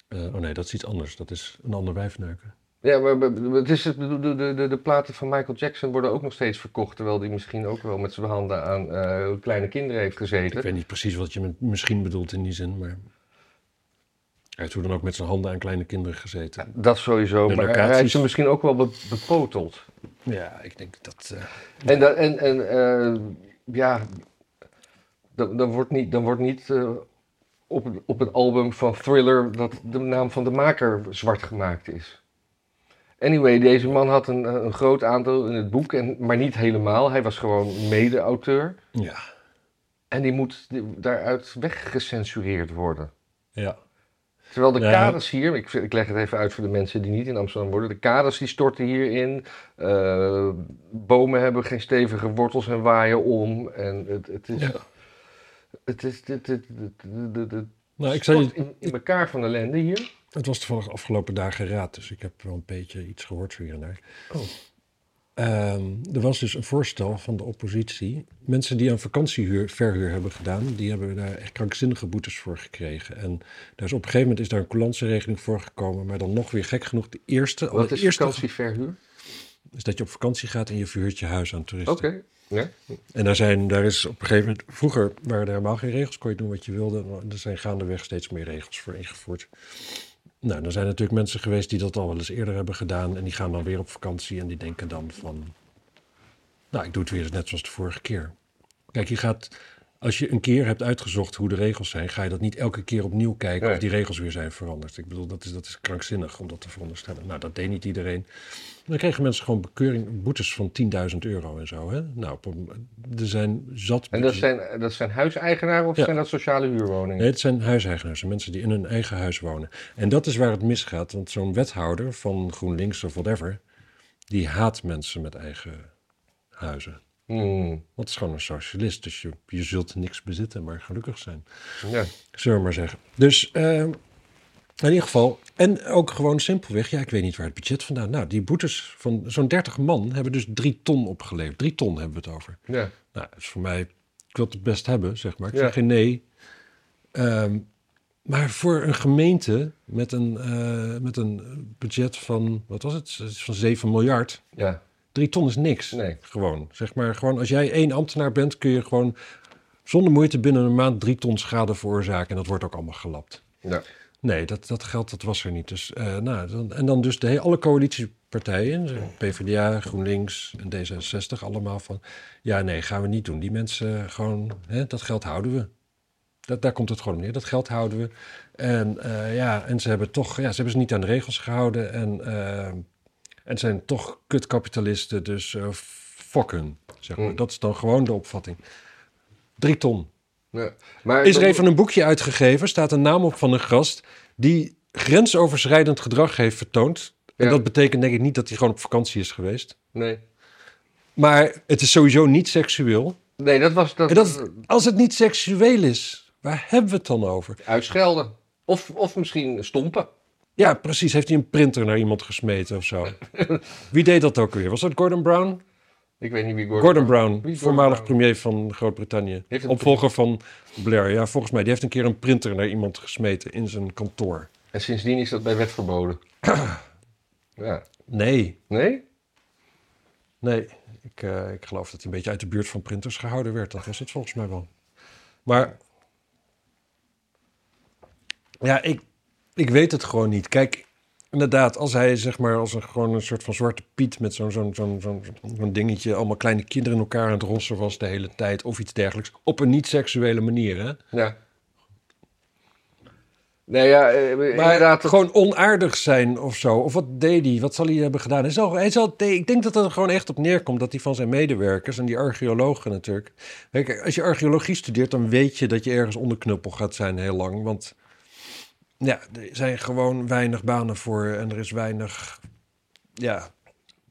Speaker 1: Eh, oh nee, dat is iets anders. Dat is een ander wijfneuken.
Speaker 2: ja maar maar- maar het is, het- de, de, de, de platen van Michael Jackson worden ook nog steeds verkocht, terwijl die misschien ook wel met zijn handen aan eh, kleine kinderen heeft gezeten.
Speaker 1: Ik weet niet precies wat je met misschien bedoelt in die zin, maar... Hij heeft hoe dan ook met zijn handen aan kleine kinderen gezeten.
Speaker 2: Dat sowieso,
Speaker 1: De
Speaker 2: maar
Speaker 1: locaties.
Speaker 2: hij heeft ze misschien ook wel be- bepoteld.
Speaker 1: Ja, ik denk dat... eh,
Speaker 2: En, dat, en, en eh, ja, dan, dan wordt niet, dan wordt niet eh, op, het- op het album van Thriller dat de naam van de maker zwart gemaakt is. Anyway, deze man had een, eh, een groot aantal in het boek, en, maar niet helemaal. Hij was gewoon mede-auteur.
Speaker 1: ja,
Speaker 2: En die moet die- daaruit weggecensureerd worden.
Speaker 1: ja.
Speaker 2: Terwijl de
Speaker 1: Ja.
Speaker 2: kaders hier, ik, ik leg het even uit voor de mensen die niet in Amsterdam worden. De kaders die storten hierin. eh, bomen hebben geen stevige wortels en waaien om. En het, het is.
Speaker 1: Ja.
Speaker 2: Het is. Het, het, het- het- het- het
Speaker 1: Nou, ik zei,
Speaker 2: stort in, in elkaar van ellende hier.
Speaker 1: Oh, het was toevallig afgelopen dagen raad, dus ik heb wel een beetje iets gehoord zo hier en daar.
Speaker 2: Oh.
Speaker 1: Ehm, er was dus een voorstel van de oppositie. Mensen die aan vakantiehuur, verhuur hebben gedaan, die hebben daar echt krankzinnige boetes voor gekregen. En daar is op een gegeven moment is daar een coulanceregeling voor gekomen, maar dan nog weer gek genoeg de eerste.
Speaker 2: Wat is
Speaker 1: allereerste
Speaker 2: vakantieverhuur?
Speaker 1: is dat je op vakantie gaat en je verhuurt je huis aan toeristen.
Speaker 2: Oké. Ja.
Speaker 1: En daar, zijn, daar is op een gegeven moment... Vroeger waren er helemaal geen regels, kon je doen wat je wilde. maar Er zijn gaandeweg steeds meer regels voor ingevoerd. Nou, er zijn natuurlijk mensen geweest die dat al wel eens eerder hebben gedaan. En die gaan dan weer op vakantie en die denken dan van... Nou, ik doe het weer net zoals de vorige keer. Kijk, je gaat... Als je een keer hebt uitgezocht hoe de regels zijn, ga je dat niet elke keer opnieuw kijken
Speaker 2: Nee.
Speaker 1: of die regels weer zijn veranderd. Ik bedoel, dat is, dat is krankzinnig om dat te veronderstellen. Nou, dat deed niet iedereen. Dan kregen mensen gewoon bekeuring, boetes van 10.000 euro en zo. Hè? Nou, op een- er zijn zat.
Speaker 2: En dat zijn, dat zijn huiseigenaren of
Speaker 1: Ja.
Speaker 2: zijn dat sociale huurwoningen?
Speaker 1: Nee, het zijn huiseigenaars, mensen die in hun eigen huis wonen. En dat is waar het misgaat, want zo'n wethouder van GroenLinks of whatever, die haat mensen met eigen huizen.
Speaker 2: Hmm,
Speaker 1: Want het is gewoon een socialist, dus je, je zult niks bezitten, maar gelukkig zijn.
Speaker 2: Ja.
Speaker 1: Zullen we maar zeggen. Dus eh, in ieder geval. En ook gewoon simpelweg. Ja, ik weet niet waar het budget vandaan. Nou, die boetes van zo'n 30 man hebben dus drie ton opgeleverd. Drie ton hebben we het over.
Speaker 2: ja.
Speaker 1: Nou, dat is voor mij. Ik wil het best hebben, zeg maar. Ik
Speaker 2: Ja.
Speaker 1: zeg geen nee. Ehm, maar voor een gemeente met een, eh, met een budget van, wat was het? Van 7 miljard.
Speaker 2: Ja.
Speaker 1: Drie ton is niks.
Speaker 2: Nee.
Speaker 1: Gewoon. Zeg maar, gewoon als jij één ambtenaar bent, kun je gewoon zonder moeite binnen een maand drie ton schade veroorzaken. En dat wordt ook allemaal gelapt.
Speaker 2: ja.
Speaker 1: Nee, dat, dat geld dat was er niet. Dus, eh, nou, dan, en dan dus de, he- alle coalitiepartijen, PvdA, GroenLinks en D66, allemaal van... Ja, nee, gaan we niet doen. Die mensen eh, gewoon, hè, dat geld houden we. Dat, daar komt het gewoon om neer. Dat geld houden we. En, eh, ja, en ze hebben toch, ja, ze hebben ze niet aan de regels gehouden. En, eh, en zijn toch kutkapitalisten, dus eh fuck hun, zeg maar.
Speaker 2: Mm.
Speaker 1: Dat is dan gewoon de opvatting. Drie ton.
Speaker 2: ja. Maar
Speaker 1: Is er even een boekje uitgegeven, staat een naam op van een gast die grensoverschrijdend gedrag heeft vertoond. En
Speaker 2: Ja.
Speaker 1: dat betekent denk ik niet dat hij gewoon op vakantie is geweest.
Speaker 2: Nee.
Speaker 1: Maar het is sowieso niet seksueel.
Speaker 2: Nee, dat was dat.
Speaker 1: En dat, als het niet seksueel is, waar hebben we het dan over?
Speaker 2: Uitschelden. Of, of misschien stompen.
Speaker 1: Ja, precies. Heeft hij een printer naar iemand gesmeten of zo? Wie deed dat ook weer? Was dat Gordon Brown?
Speaker 2: Ik weet niet wie Gordon,
Speaker 1: Gordon Brown,
Speaker 2: Brown?
Speaker 1: voormalig premier van Groot-Brittannië.
Speaker 2: Heeft een
Speaker 1: Opvolger van Blair. Ja, volgens mij. Die heeft een keer een printer naar iemand gesmeten in zijn kantoor.
Speaker 2: En sindsdien is dat bij wet verboden. ja.
Speaker 1: Nee,
Speaker 2: Nee?
Speaker 1: Nee, ik, eh, ik geloof dat hij een beetje uit de buurt van printers gehouden werd. Dat was het volgens mij wel. Maar Ja, ik, ik weet het gewoon niet. Kijk, inderdaad, als hij zeg maar als een, gewoon een soort van zwarte piet met zo'n zo'n zo'n zo'n zo'n dingetje, allemaal kleine kinderen in elkaar aan het rossen was de hele tijd of iets dergelijks, op een niet-seksuele manier. Hè?
Speaker 2: Ja. Nee, ja, eh,
Speaker 1: Maar
Speaker 2: inderdaad. dat-
Speaker 1: gewoon onaardig zijn of zo. Of wat deed hij? Wat zal hij hebben gedaan? Hij zal, hij zal, nee, ik denk dat het er gewoon echt op neerkomt dat hij van zijn medewerkers en die archeologen natuurlijk. Kijk, als je archeologie studeert, dan weet je dat je ergens onderknuppel gaat zijn heel lang. Want ja, er zijn gewoon weinig banen voor en er is weinig. Ja,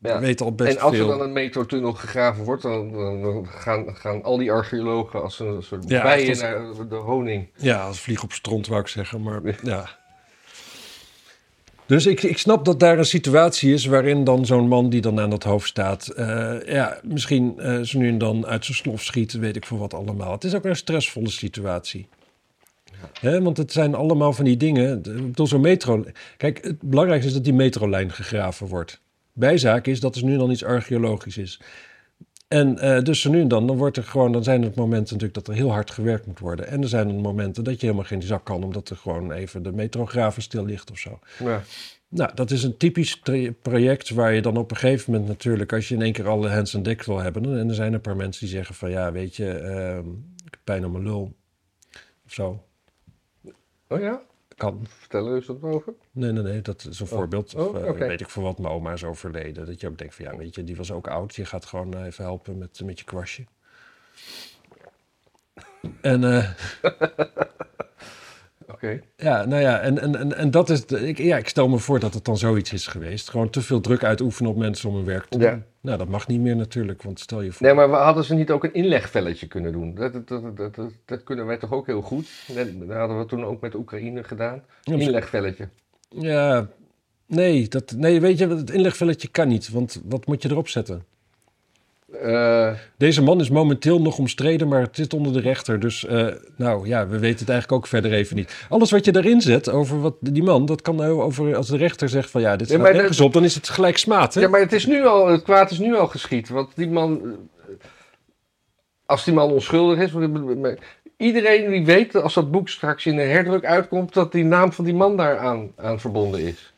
Speaker 2: ja.
Speaker 1: we weten al best
Speaker 2: en als
Speaker 1: veel.
Speaker 2: er dan een metrotunnel gegraven wordt, dan, dan- dan gaan, gaan al die archeologen als een soort
Speaker 1: Ja,
Speaker 2: bijen
Speaker 1: echt
Speaker 2: naar de honing.
Speaker 1: Ja, als vlieg op stront wou ik zeggen, maar ja. Dus ik, ik snap dat daar een situatie is waarin dan zo'n man die dan aan dat hoofd staat, eh, ja, misschien eh, zo nu en dan uit zijn slof schiet, weet ik veel wat allemaal. Het is ook een stressvolle situatie. Hè, want het zijn allemaal van die dingen. de- Ik bedoel, zo'n metro. Kijk, het belangrijkste is dat die metrolijn gegraven wordt. Bijzaak is dat er nu en dan iets archeologisch is. En eh, dus zo nu en dan, dan, wordt er gewoon, dan zijn er momenten natuurlijk dat er heel hard gewerkt moet worden. En er zijn er momenten dat je helemaal geen zak kan, omdat er gewoon even de metrograven stil ligt of zo.
Speaker 2: Ja.
Speaker 1: Nou, dat is een typisch tra- project waar je dan op een gegeven moment natuurlijk, als je in één keer alle hands en dek wil hebben, dan- en er zijn een paar mensen die zeggen van ja, weet je, ehm, ik heb pijn aan mijn lul of zo.
Speaker 2: Oh ja?
Speaker 1: Kan.
Speaker 2: Vertel er eens wat over.
Speaker 1: Nee, nee, nee, dat is een voorbeeld. Of,
Speaker 2: oh,
Speaker 1: eh,
Speaker 2: oké.
Speaker 1: Weet ik voor wat, mijn oma is overleden. Dat je ook denkt van ja, weet je, die was ook oud. Je gaat gewoon eh, even helpen met, met je kwastje. En eh,
Speaker 2: Oké.
Speaker 1: ja, nou ja, en, en, en, en dat is. De, ik, ja, ik stel me voor dat het dan zoiets is geweest. Gewoon te veel druk uitoefenen op mensen om hun werk te doen.
Speaker 2: Ja.
Speaker 1: Nou, dat mag niet meer natuurlijk, want stel je voor.
Speaker 2: Nee, maar we hadden ze niet ook een inlegvelletje kunnen doen? Dat, dat, dat, dat, dat, dat kunnen wij toch ook heel goed? Dat, dat hadden we toen ook met Oekraïne gedaan.
Speaker 1: Ja, misschien-
Speaker 2: Inlegvelletje.
Speaker 1: Ja, nee, dat, nee, weet je, het inlegvelletje kan niet, want wat moet je erop zetten?
Speaker 2: Eh,
Speaker 1: Deze man is momenteel nog omstreden, maar het zit onder de rechter. Dus eh, nou ja, we weten het eigenlijk ook verder even niet. Alles wat je daarin zet over wat, die man, dat kan heel over als de rechter zegt van ja, dit
Speaker 2: Ja,
Speaker 1: staat
Speaker 2: maar
Speaker 1: nergens op, dan is het gelijk smaad. Hè?
Speaker 2: ja, maar het, is nu al, het kwaad is nu al geschied. Want die man... eh, Als die man onschuldig is... want- maar Iedereen die weet dat als dat boek straks in een herdruk uitkomt... dat die naam van die man daar aan, aan verbonden is.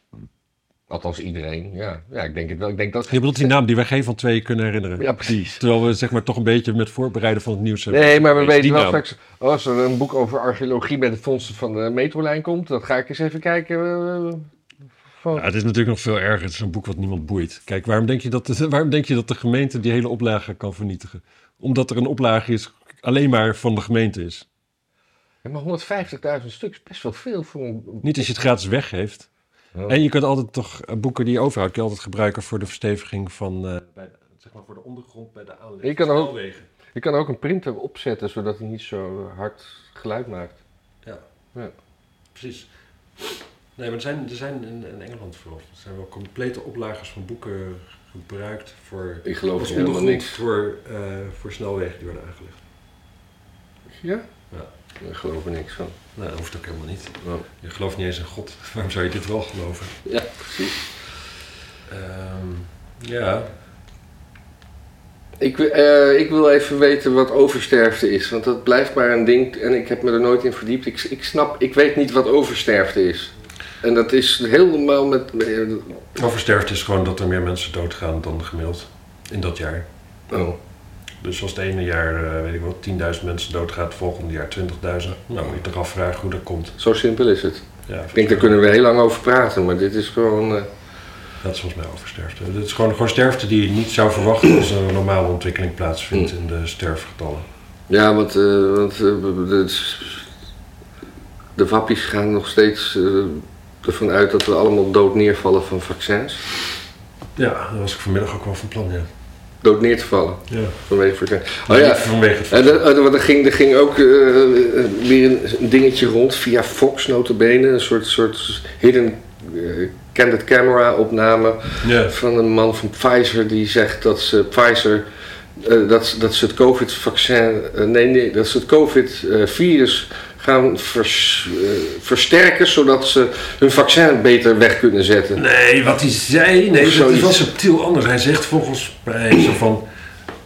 Speaker 2: Althans iedereen, ja. Ja, ik denk het wel. Ik denk dat...
Speaker 1: Je bedoelt die naam die wij geen van tweeën kunnen herinneren.
Speaker 2: Ja, precies.
Speaker 1: Terwijl we zeg maar toch een beetje met voorbereiden van het nieuws hebben.
Speaker 2: Nee, maar we
Speaker 1: Die
Speaker 2: weten wel
Speaker 1: naam.
Speaker 2: straks. Als er een boek over archeologie bij de fondsen van de metrolijn komt, dat ga ik eens even kijken. eh, van-
Speaker 1: Ja, het is natuurlijk nog veel erger. Het is een boek wat niemand boeit. Kijk, waarom denk je dat de, waarom denk je dat de gemeente die hele oplage kan vernietigen? Omdat er een oplage is alleen maar van de gemeente is.
Speaker 2: Ja, maar 150.000 stuks, best wel veel voor een.
Speaker 1: Niet als je het gratis weggeeft.
Speaker 2: Oh.
Speaker 1: En je kunt altijd toch eh, boeken die je overhoudt, kun je altijd gebruiken voor de versteviging van. eh, bij, zeg maar voor de ondergrond bij de aanleg.
Speaker 2: Je kan er ook-
Speaker 1: Snelwegen.
Speaker 2: Je kan er ook een printer opzetten zodat hij niet zo hard geluid maakt.
Speaker 1: Ja.
Speaker 2: Ja.
Speaker 1: precies. Nee, maar er zijn, er zijn in, in Engeland vooral. Er zijn wel complete oplagers van boeken gebruikt voor.
Speaker 2: Ik geloof
Speaker 1: als ondergrond voor, eh, voor snelwegen die worden aangelegd.
Speaker 2: Ja?
Speaker 1: Ja.
Speaker 2: Ik geloof er niks van.
Speaker 1: Nou, dat hoeft ook helemaal niet.
Speaker 2: Oh.
Speaker 1: Je gelooft niet eens in God. Waarom zou je dit wel geloven?
Speaker 2: Ja, precies.
Speaker 1: Ehm, ja.
Speaker 2: Ik, wi- eh, ik wil even weten wat oversterfte is, want dat blijft maar een ding en ik heb me er nooit in verdiept. Ik, ik snap, ik weet niet wat oversterfte is. En dat is helemaal met. eh, met-
Speaker 1: Oversterfte is gewoon dat er meer mensen doodgaan dan gemiddeld in dat jaar.
Speaker 2: Oh.
Speaker 1: Dus als het ene jaar, eh, weet ik wel, 10.000 mensen doodgaat, het volgende jaar 20.000. Nou, moet je toch afvragen hoe dat komt.
Speaker 2: Zo simpel is het.
Speaker 1: Ja,
Speaker 2: Ik denk, daar kunnen we heel lang over praten, maar dit is gewoon... eh,
Speaker 1: Dat is volgens mij oversterfte. Dus Het is gewoon, gewoon sterfte die je niet zou verwachten als er een normale ontwikkeling plaatsvindt
Speaker 2: Mm.
Speaker 1: in de sterfgetallen.
Speaker 2: ja, want, eh, want eh, de, de wappies gaan nog steeds eh, ervan uit dat we allemaal dood neervallen van vaccins.
Speaker 1: Ja, dat was ik vanmiddag ook wel van plan, ja.
Speaker 2: Dood neer te vallen
Speaker 1: ja.
Speaker 2: vanwege vaccins. Oh
Speaker 1: Maar
Speaker 2: ja,
Speaker 1: niet vanwege het
Speaker 2: en dat- eh, want er ging, er ging ook eh, eh, weer een- een dingetje rond via Fox notabene. Een soort, soort hidden eh, candid camera opname
Speaker 1: Ja.
Speaker 2: van een man van Pfizer die zegt dat ze Pfizer eh, dat, ze- dat ze het COVID-vaccin, eh, nee, nee, dat ze het COVID-virus gaan vers- eh, versterken zodat ze hun vaccin beter weg kunnen zetten.
Speaker 1: Nee, wat hij zei, nee, dat is
Speaker 2: Zoiets.
Speaker 1: wel subtiel anders. Hij zegt volgens mij zo van,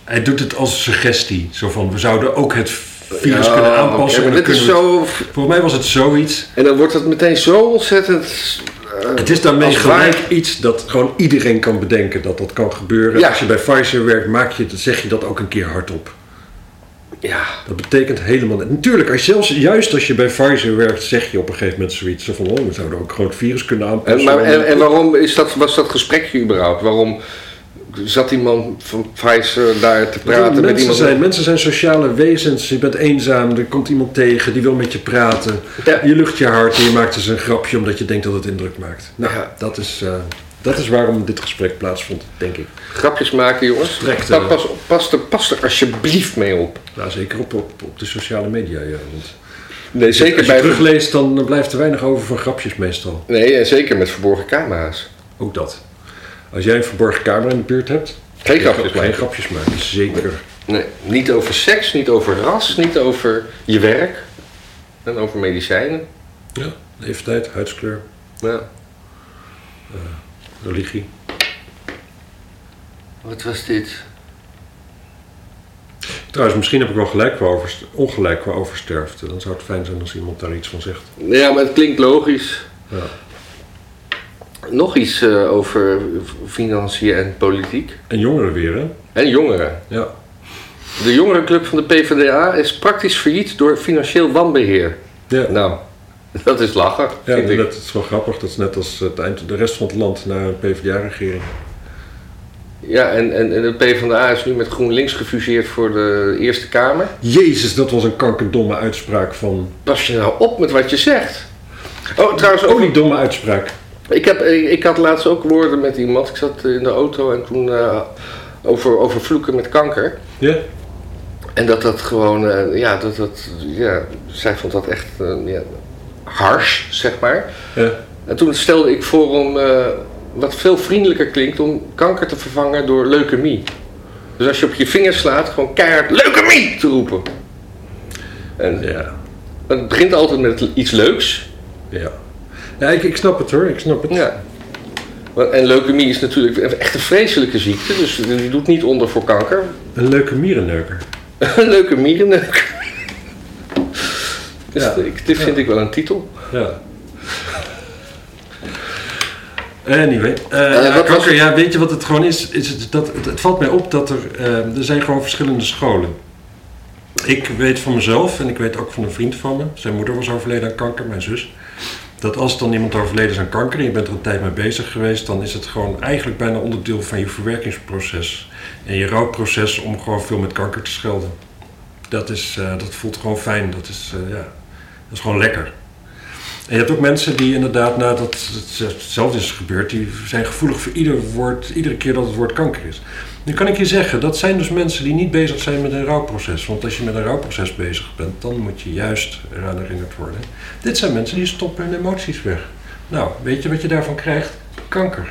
Speaker 1: hij doet het als suggestie. Zo van, we zouden ook het virus
Speaker 2: Ja,
Speaker 1: kunnen
Speaker 2: oké,
Speaker 1: aanpassen.
Speaker 2: maar
Speaker 1: en dan
Speaker 2: dit is
Speaker 1: kunnen we
Speaker 2: zo...
Speaker 1: het- Volgens mij was het zoiets.
Speaker 2: En dan wordt het meteen zo ontzettend... eh,
Speaker 1: Het is daarmee
Speaker 2: als
Speaker 1: gelijk
Speaker 2: waar-
Speaker 1: iets dat gewoon iedereen kan bedenken dat dat kan gebeuren.
Speaker 2: Ja.
Speaker 1: Als je bij Pfizer werkt, maak je, zeg je dat ook een keer hardop.
Speaker 2: Ja,
Speaker 1: Dat betekent helemaal niet. Natuurlijk, als zelfs, juist als je bij Pfizer werkt, zeg je op een gegeven moment zoiets van... Oh, we zouden ook gewoon het virus kunnen
Speaker 2: en,
Speaker 1: aanpassen.
Speaker 2: maar, en, en waarom is dat, was dat gesprekje überhaupt? Waarom zat die man van Pfizer daar te
Speaker 1: Ja,
Speaker 2: praten met
Speaker 1: mensen,
Speaker 2: iemand?
Speaker 1: zijn, mensen zijn sociale wezens. Je bent eenzaam, er komt iemand tegen, die wil met je praten.
Speaker 2: Ja.
Speaker 1: Je lucht je hart en je maakt dus een grapje omdat je denkt dat het indruk maakt. Nou,
Speaker 2: Ja.
Speaker 1: dat, is, eh, dat is waarom dit gesprek plaatsvond, denk ik.
Speaker 2: Grapjes maken, jongens.
Speaker 1: Strekt,
Speaker 2: Pa-
Speaker 1: eh,
Speaker 2: pas, pas, er, pas er alsjeblieft mee op.
Speaker 1: Nou, zeker op, op, op de sociale media, ja. Want
Speaker 2: Nee, zeker,
Speaker 1: als je
Speaker 2: bij,
Speaker 1: terugleest, dan eh, blijft er weinig over van grapjes meestal.
Speaker 2: nee, en zeker met verborgen camera's.
Speaker 1: Ook dat. Als jij een verborgen camera in de buurt hebt...
Speaker 2: Geen
Speaker 1: dan
Speaker 2: grapjes
Speaker 1: kan je Geen
Speaker 2: maken.
Speaker 1: grapjes maken, zeker.
Speaker 2: Nee, niet over seks, niet over ras, niet over je werk. En over medicijnen.
Speaker 1: Ja, leeftijd, huidskleur,
Speaker 2: Ja.
Speaker 1: religie.
Speaker 2: Wat was dit?
Speaker 1: Trouwens, misschien heb ik wel gelijk qua over, ongelijk qua oversterfte. Dan zou het fijn zijn als iemand daar iets van zegt.
Speaker 2: Ja, maar het klinkt logisch.
Speaker 1: Ja.
Speaker 2: Nog iets eh, over financiën en politiek.
Speaker 1: En jongeren weer, hè?
Speaker 2: En jongeren.
Speaker 1: Ja.
Speaker 2: De jongerenclub van de PvdA is praktisch failliet door financieel wanbeheer.
Speaker 1: Ja,
Speaker 2: Nou, dat is lachen,
Speaker 1: ja
Speaker 2: vind ik.
Speaker 1: dat is wel grappig. Dat is net als het eind, de rest van het land naar een PvdA-regering.
Speaker 2: Ja, en, en, en de PvdA is nu met GroenLinks gefuseerd voor de Eerste Kamer.
Speaker 1: Jezus, dat was een kankerdomme uitspraak van...
Speaker 2: Pas je nou op met wat je zegt. Oh, trouwens, ook
Speaker 1: Oh, die domme uitspraak.
Speaker 2: Ik, heb, ik, ik had laatst ook woorden met iemand. Ik zat in de auto en toen eh, over, over vloeken met kanker.
Speaker 1: Ja?
Speaker 2: En dat dat gewoon, eh, ja, dat dat, ja, zij vond dat echt eh, ja, hars, zeg maar.
Speaker 1: Ja.
Speaker 2: En toen stelde ik voor om, eh, wat veel vriendelijker klinkt, om kanker te vervangen door leukemie. Dus als je op je vinger slaat, gewoon keihard leukemie te roepen. En
Speaker 1: Ja.
Speaker 2: het begint altijd met iets leuks.
Speaker 1: Ja. Ja, ik, ik snap het hoor, ik snap het.
Speaker 2: Ja. Want- En leukemie is natuurlijk echt een vreselijke ziekte, dus die doet niet onder voor kanker.
Speaker 1: Een leuke mierenneuker.
Speaker 2: Een leukemierenneuk. Dus
Speaker 1: Ja.
Speaker 2: ik- dit vind ik wel een titel.
Speaker 1: Ja. Anyway, eh, ja,
Speaker 2: wat was
Speaker 1: kanker,
Speaker 2: het?
Speaker 1: ja, weet je wat het gewoon is? is het, dat, het, het valt mij op dat er, eh, er zijn gewoon verschillende scholen. Ik weet van mezelf en ik weet ook van een vriend van me, zijn moeder was overleden aan kanker, mijn zus, dat als dan iemand overleden is aan kanker en je bent er een tijd mee bezig geweest, dan is het gewoon eigenlijk bijna onderdeel van je verwerkingsproces en je rouwproces om gewoon veel met kanker te schelden. Dat, is, eh, dat voelt gewoon fijn, dat is, eh, ja, dat is gewoon lekker. En je hebt ook mensen die inderdaad nadat het- hetzelfde is gebeurd, die zijn gevoelig voor ieder woord, iedere keer dat het woord kanker is. Nu kan ik je zeggen, dat zijn dus mensen die niet bezig zijn met een rouwproces. Want als je met een rouwproces bezig bent, dan moet je juist eraan herinnerd worden. Dit zijn mensen die stoppen hun emoties weg. Nou, weet je wat je daarvan krijgt? Kanker.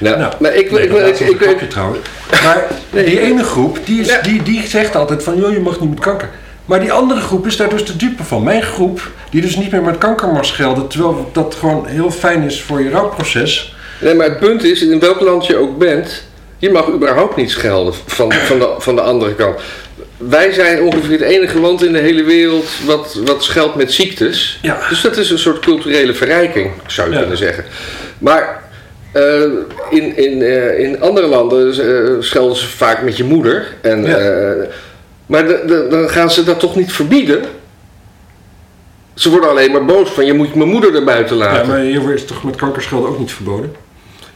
Speaker 2: Nou,
Speaker 1: Nou,
Speaker 2: maar ik,
Speaker 1: nee,
Speaker 2: ik,
Speaker 1: dat
Speaker 2: ik,
Speaker 1: laatste was een
Speaker 2: ik,
Speaker 1: grapje trouwens. Maar die ene groep, die, is,
Speaker 2: Ja.
Speaker 1: die, die zegt altijd van, joh, je mag niet met kanker. Maar die andere groep is daar dus de dupe van. Mijn groep, die dus niet meer met kanker mag schelden, terwijl dat gewoon heel fijn is voor je rouwproces.
Speaker 2: nee, maar het punt is, in welk land je ook bent, je mag überhaupt niet schelden van, van, de, van de andere kant. Wij zijn ongeveer het enige land in de hele wereld wat, wat scheldt met ziektes.
Speaker 1: Ja.
Speaker 2: Dus dat is een soort culturele verrijking, zou je
Speaker 1: Ja.
Speaker 2: kunnen zeggen. Maar eh, in, in, eh, in andere landen eh, schelden ze vaak met je moeder. En,
Speaker 1: Ja.
Speaker 2: eh, maar de- de- dan gaan ze dat toch niet verbieden? Ze worden alleen maar boos van je moet mijn moeder er buiten
Speaker 1: Ja,
Speaker 2: laten.
Speaker 1: maar hier is toch met kanker schelden ook niet verboden?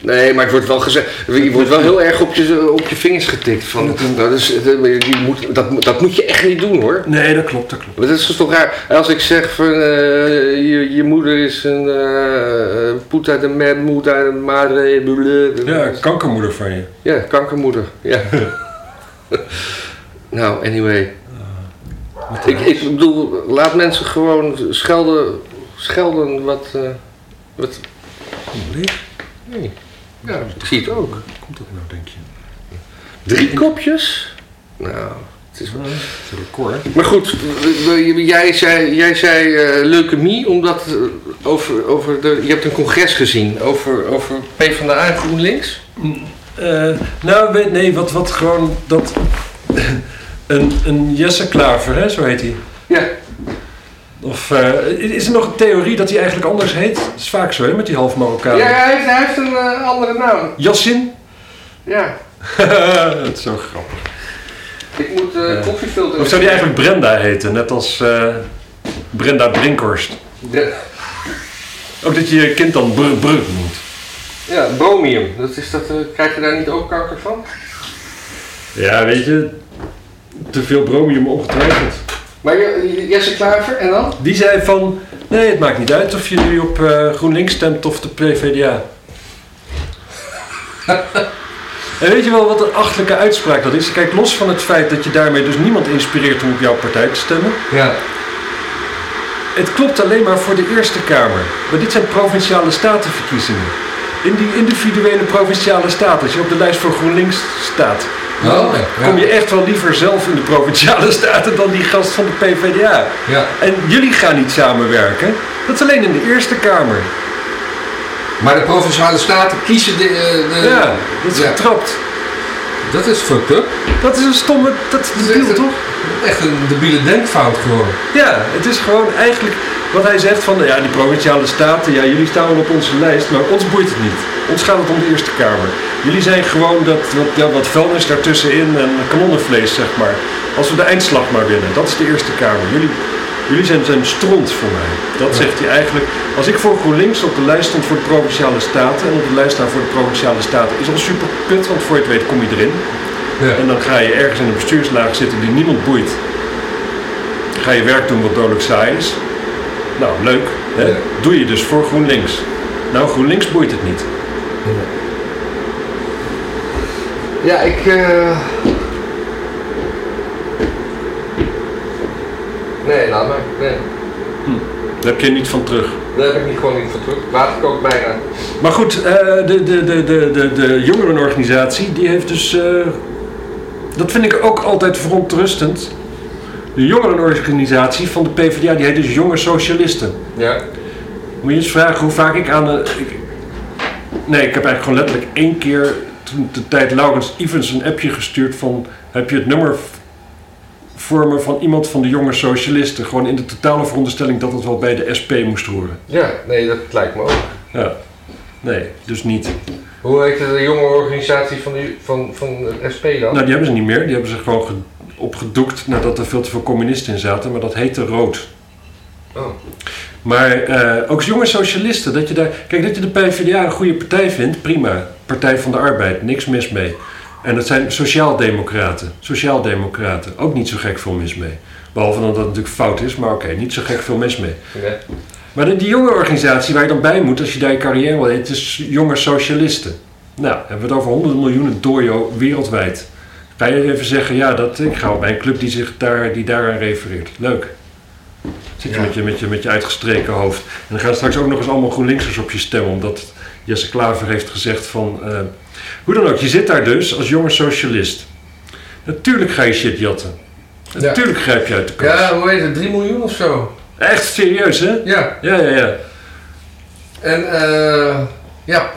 Speaker 2: Nee, maar het wordt wel gezegd. Je wordt wel heel erg op je, op je vingers getikt. Van, nou, dat, is, die moet, dat, moet- dat moet je echt niet doen hoor.
Speaker 1: Nee, dat klopt, dat klopt.
Speaker 2: Maar dat is toch raar. Als ik zeg van eh, je, je moeder is een eh puta de mad, moeder, madre, bleu.
Speaker 1: Ja, kankermoeder van je.
Speaker 2: Ja, kankermoeder. Ja. nou, anyway. Ik, ik bedoel, laat mensen gewoon schelden, schelden wat, eh, wat...
Speaker 1: Leeg?
Speaker 2: Nee. Ja, ik zie het ook.
Speaker 1: Hoe komt dat nou, denk je?
Speaker 2: Drie kopjes? Nou, het is...
Speaker 1: Dat is een record. hè?
Speaker 2: Maar goed, w- w- jij zei, jij zei eh, leukemie omdat eh, over, over de, je hebt een congres gezien over, over PvdA en GroenLinks.
Speaker 1: Eh, nou, weet, nee, wat, wat gewoon dat... een, een Jesse Klaver, hè, zo heet hij.
Speaker 2: Ja.
Speaker 1: Of eh, is er nog een theorie dat hij eigenlijk anders heet? Dat is vaak zo, hè, met die half
Speaker 2: Ja,
Speaker 1: Marokkaan.
Speaker 2: hij heeft, hij heeft een eh, andere naam.
Speaker 1: Yassin?
Speaker 2: Ja.
Speaker 1: dat is zo grappig.
Speaker 2: Ik moet eh
Speaker 1: Ja.
Speaker 2: koffiefilter...
Speaker 1: Of zou die eigenlijk Brenda heten? Net als eh, Brenda Brinkhorst.
Speaker 2: De-
Speaker 1: Ook dat je je kind dan br br noemt.
Speaker 2: ja, bromium. Dat is dat, eh, krijg je daar niet ook kanker van?
Speaker 1: Ja, weet je. Te veel bromium ongetwijfeld.
Speaker 2: Maar je- Jesse Klaver, en dan?
Speaker 1: Die zei van, nee, het maakt niet uit of je nu op eh, GroenLinks stemt of de PvdA. en weet je wel wat een achterlijke uitspraak dat is? Kijk, los van het feit dat je daarmee dus niemand inspireert om op jouw partij te stemmen.
Speaker 2: Ja.
Speaker 1: Het klopt alleen maar voor de Eerste Kamer. Maar dit zijn provinciale statenverkiezingen. In die individuele provinciale staten, als je op de lijst voor GroenLinks staat,
Speaker 2: Oh, ja.
Speaker 1: kom je echt wel liever zelf in de provinciale staten dan die gast van de PvdA.
Speaker 2: Ja.
Speaker 1: En jullie gaan niet samenwerken. Dat is alleen in de Eerste Kamer.
Speaker 3: Maar de Provinciale Staten kiezen de... eh, de-
Speaker 1: Ja, dat is
Speaker 3: ja.
Speaker 1: getrapt.
Speaker 3: Dat is fucked up.
Speaker 1: Dat is een stomme, dat is debiel
Speaker 3: Zegt het-
Speaker 1: toch?
Speaker 3: Echt een debiele denkfout gewoon.
Speaker 1: Ja, het is gewoon eigenlijk wat hij zegt van ja, die provinciale staten, ja, jullie staan wel op onze lijst, maar ons boeit het niet. Ons gaat het om de Eerste Kamer. Jullie zijn gewoon dat, dat, ja, dat vuilnis daartussenin en kanonnenvlees, zeg maar. Als we de eindslag maar winnen, dat is de Eerste Kamer. Jullie, jullie zijn, zijn stront voor mij. Dat zegt hij eigenlijk. Als ik voor GroenLinks op de lijst stond voor de provinciale staten en op de lijst staan voor de provinciale staten, is al super kut, want voor je het weet kom je erin.
Speaker 3: Ja.
Speaker 1: En dan ga je ergens in een bestuurslaag zitten die niemand boeit. Ga je werk doen wat dodelijk saai is. Nou, leuk. Hè?
Speaker 3: Ja.
Speaker 1: Doe je dus voor GroenLinks. Nou, GroenLinks boeit het niet.
Speaker 2: Ja, ik... eh, Nee, laat maar. Nee.
Speaker 1: Daar heb je niet van terug.
Speaker 2: Daar heb ik niet gewoon niet voor terug. Laat ik ook bijna.
Speaker 1: Maar goed, eh, de, de, de, de, de, de jongerenorganisatie, die heeft dus... eh, dat vind ik ook altijd verontrustend. De jongerenorganisatie van de PvdA, die heet dus Jonge Socialisten.
Speaker 2: Ja.
Speaker 1: Moet je eens vragen hoe vaak ik aan de... ik- nee, ik heb eigenlijk gewoon letterlijk één keer... toen de tijd Laurens Ivens een appje gestuurd van... heb je het nummer v- voor me van iemand van de jonge socialisten? Gewoon in de totale veronderstelling dat het wel bij de SP moest horen.
Speaker 2: Ja, nee, dat lijkt me ook.
Speaker 1: Ja. Nee, dus niet.
Speaker 2: Hoe heet de jonge organisatie van, de, van, van de SP dan?
Speaker 1: Nou, die hebben ze niet meer. Die hebben ze gewoon ge- opgedoekt nadat er veel te veel communisten in zaten. Maar dat heette Rood.
Speaker 2: Oh.
Speaker 1: Maar eh, ook jonge socialisten, dat je daar... Kijk, dat je de PvdA een goede partij vindt, prima. Partij van de Arbeid, niks mis mee. En dat zijn sociaaldemocraten. Sociaaldemocraten, ook niet zo gek veel mis mee. Behalve dan dat het natuurlijk fout is, maar oké, niet zo gek veel mis mee.
Speaker 2: Ja.
Speaker 1: Maar die- die jonge organisatie waar je dan bij moet als je daar je carrière wil het is jonge socialisten. Nou, hebben we het over honderden miljoenen dojo wereldwijd. Ga je even zeggen, ja, dat, ik ga bij een club die zich daar, die daaraan refereert. Leuk. Zit je,
Speaker 2: Ja.
Speaker 1: met je, met je met je uitgestreken hoofd. En dan gaan straks ook nog eens allemaal GroenLinksers op je stemmen, omdat Jesse Klaver heeft gezegd van... eh, hoe dan ook, je zit daar dus als jonge socialist. Natuurlijk ga je shit jatten.
Speaker 3: Ja.
Speaker 1: Natuurlijk grijp je uit de kast.
Speaker 3: Ja, hoe heet het? 3 miljoen of zo?
Speaker 1: Echt serieus, hè?
Speaker 3: Ja.
Speaker 1: Ja, ja, ja.
Speaker 3: En eh... ja.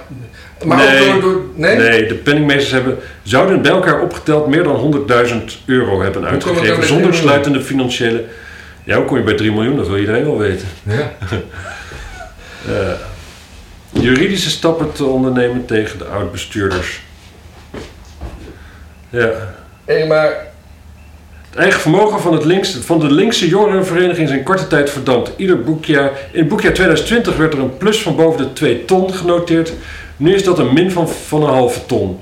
Speaker 3: Maar
Speaker 1: Nee.
Speaker 3: ook door... door nee?
Speaker 1: Nee? de penningmeesters hebben, zouden bij elkaar opgeteld meer dan 100.000 euro hebben
Speaker 3: kom ik dan
Speaker 1: uitgegeven.
Speaker 3: bij
Speaker 1: Zonder
Speaker 3: 3 miljoen?
Speaker 1: sluitende financiële. Ja, hoe kom je bij 3 miljoen? Dat wil iedereen wel weten.
Speaker 3: Ja.
Speaker 1: Eh, juridische stappen te ondernemen tegen de oud-bestuurders. Ja.
Speaker 2: Hé, maar
Speaker 1: Het eigen vermogen van, het links, van de linkse jongerenvereniging is in korte tijd verdampt. Ieder boekjaar, in het boekjaar 2020 werd er een plus van boven de 2 ton genoteerd. Nu is dat een min van, van een halve ton.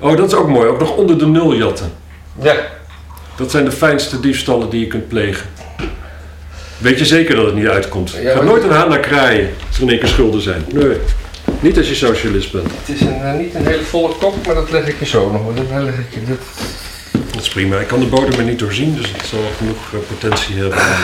Speaker 1: Oh, dat is ook mooi. Ook nog onder de nul jatten.
Speaker 2: ja.
Speaker 1: Dat zijn de fijnste diefstallen die je kunt plegen. Weet je zeker dat het niet uitkomt?
Speaker 2: Ja,
Speaker 1: Ga
Speaker 2: maar-
Speaker 1: nooit een haan naar kraaien als er in één keer schulden zijn. Nee, niet als je socialist bent.
Speaker 2: het is een, eh, niet een hele volle kop, maar dat leg ik je zo nog. Dat leg ik je, dat...
Speaker 1: Dat is prima. Ik kan de bodem er niet doorzien, dus het zal genoeg eh, potentie hebben. En, eh,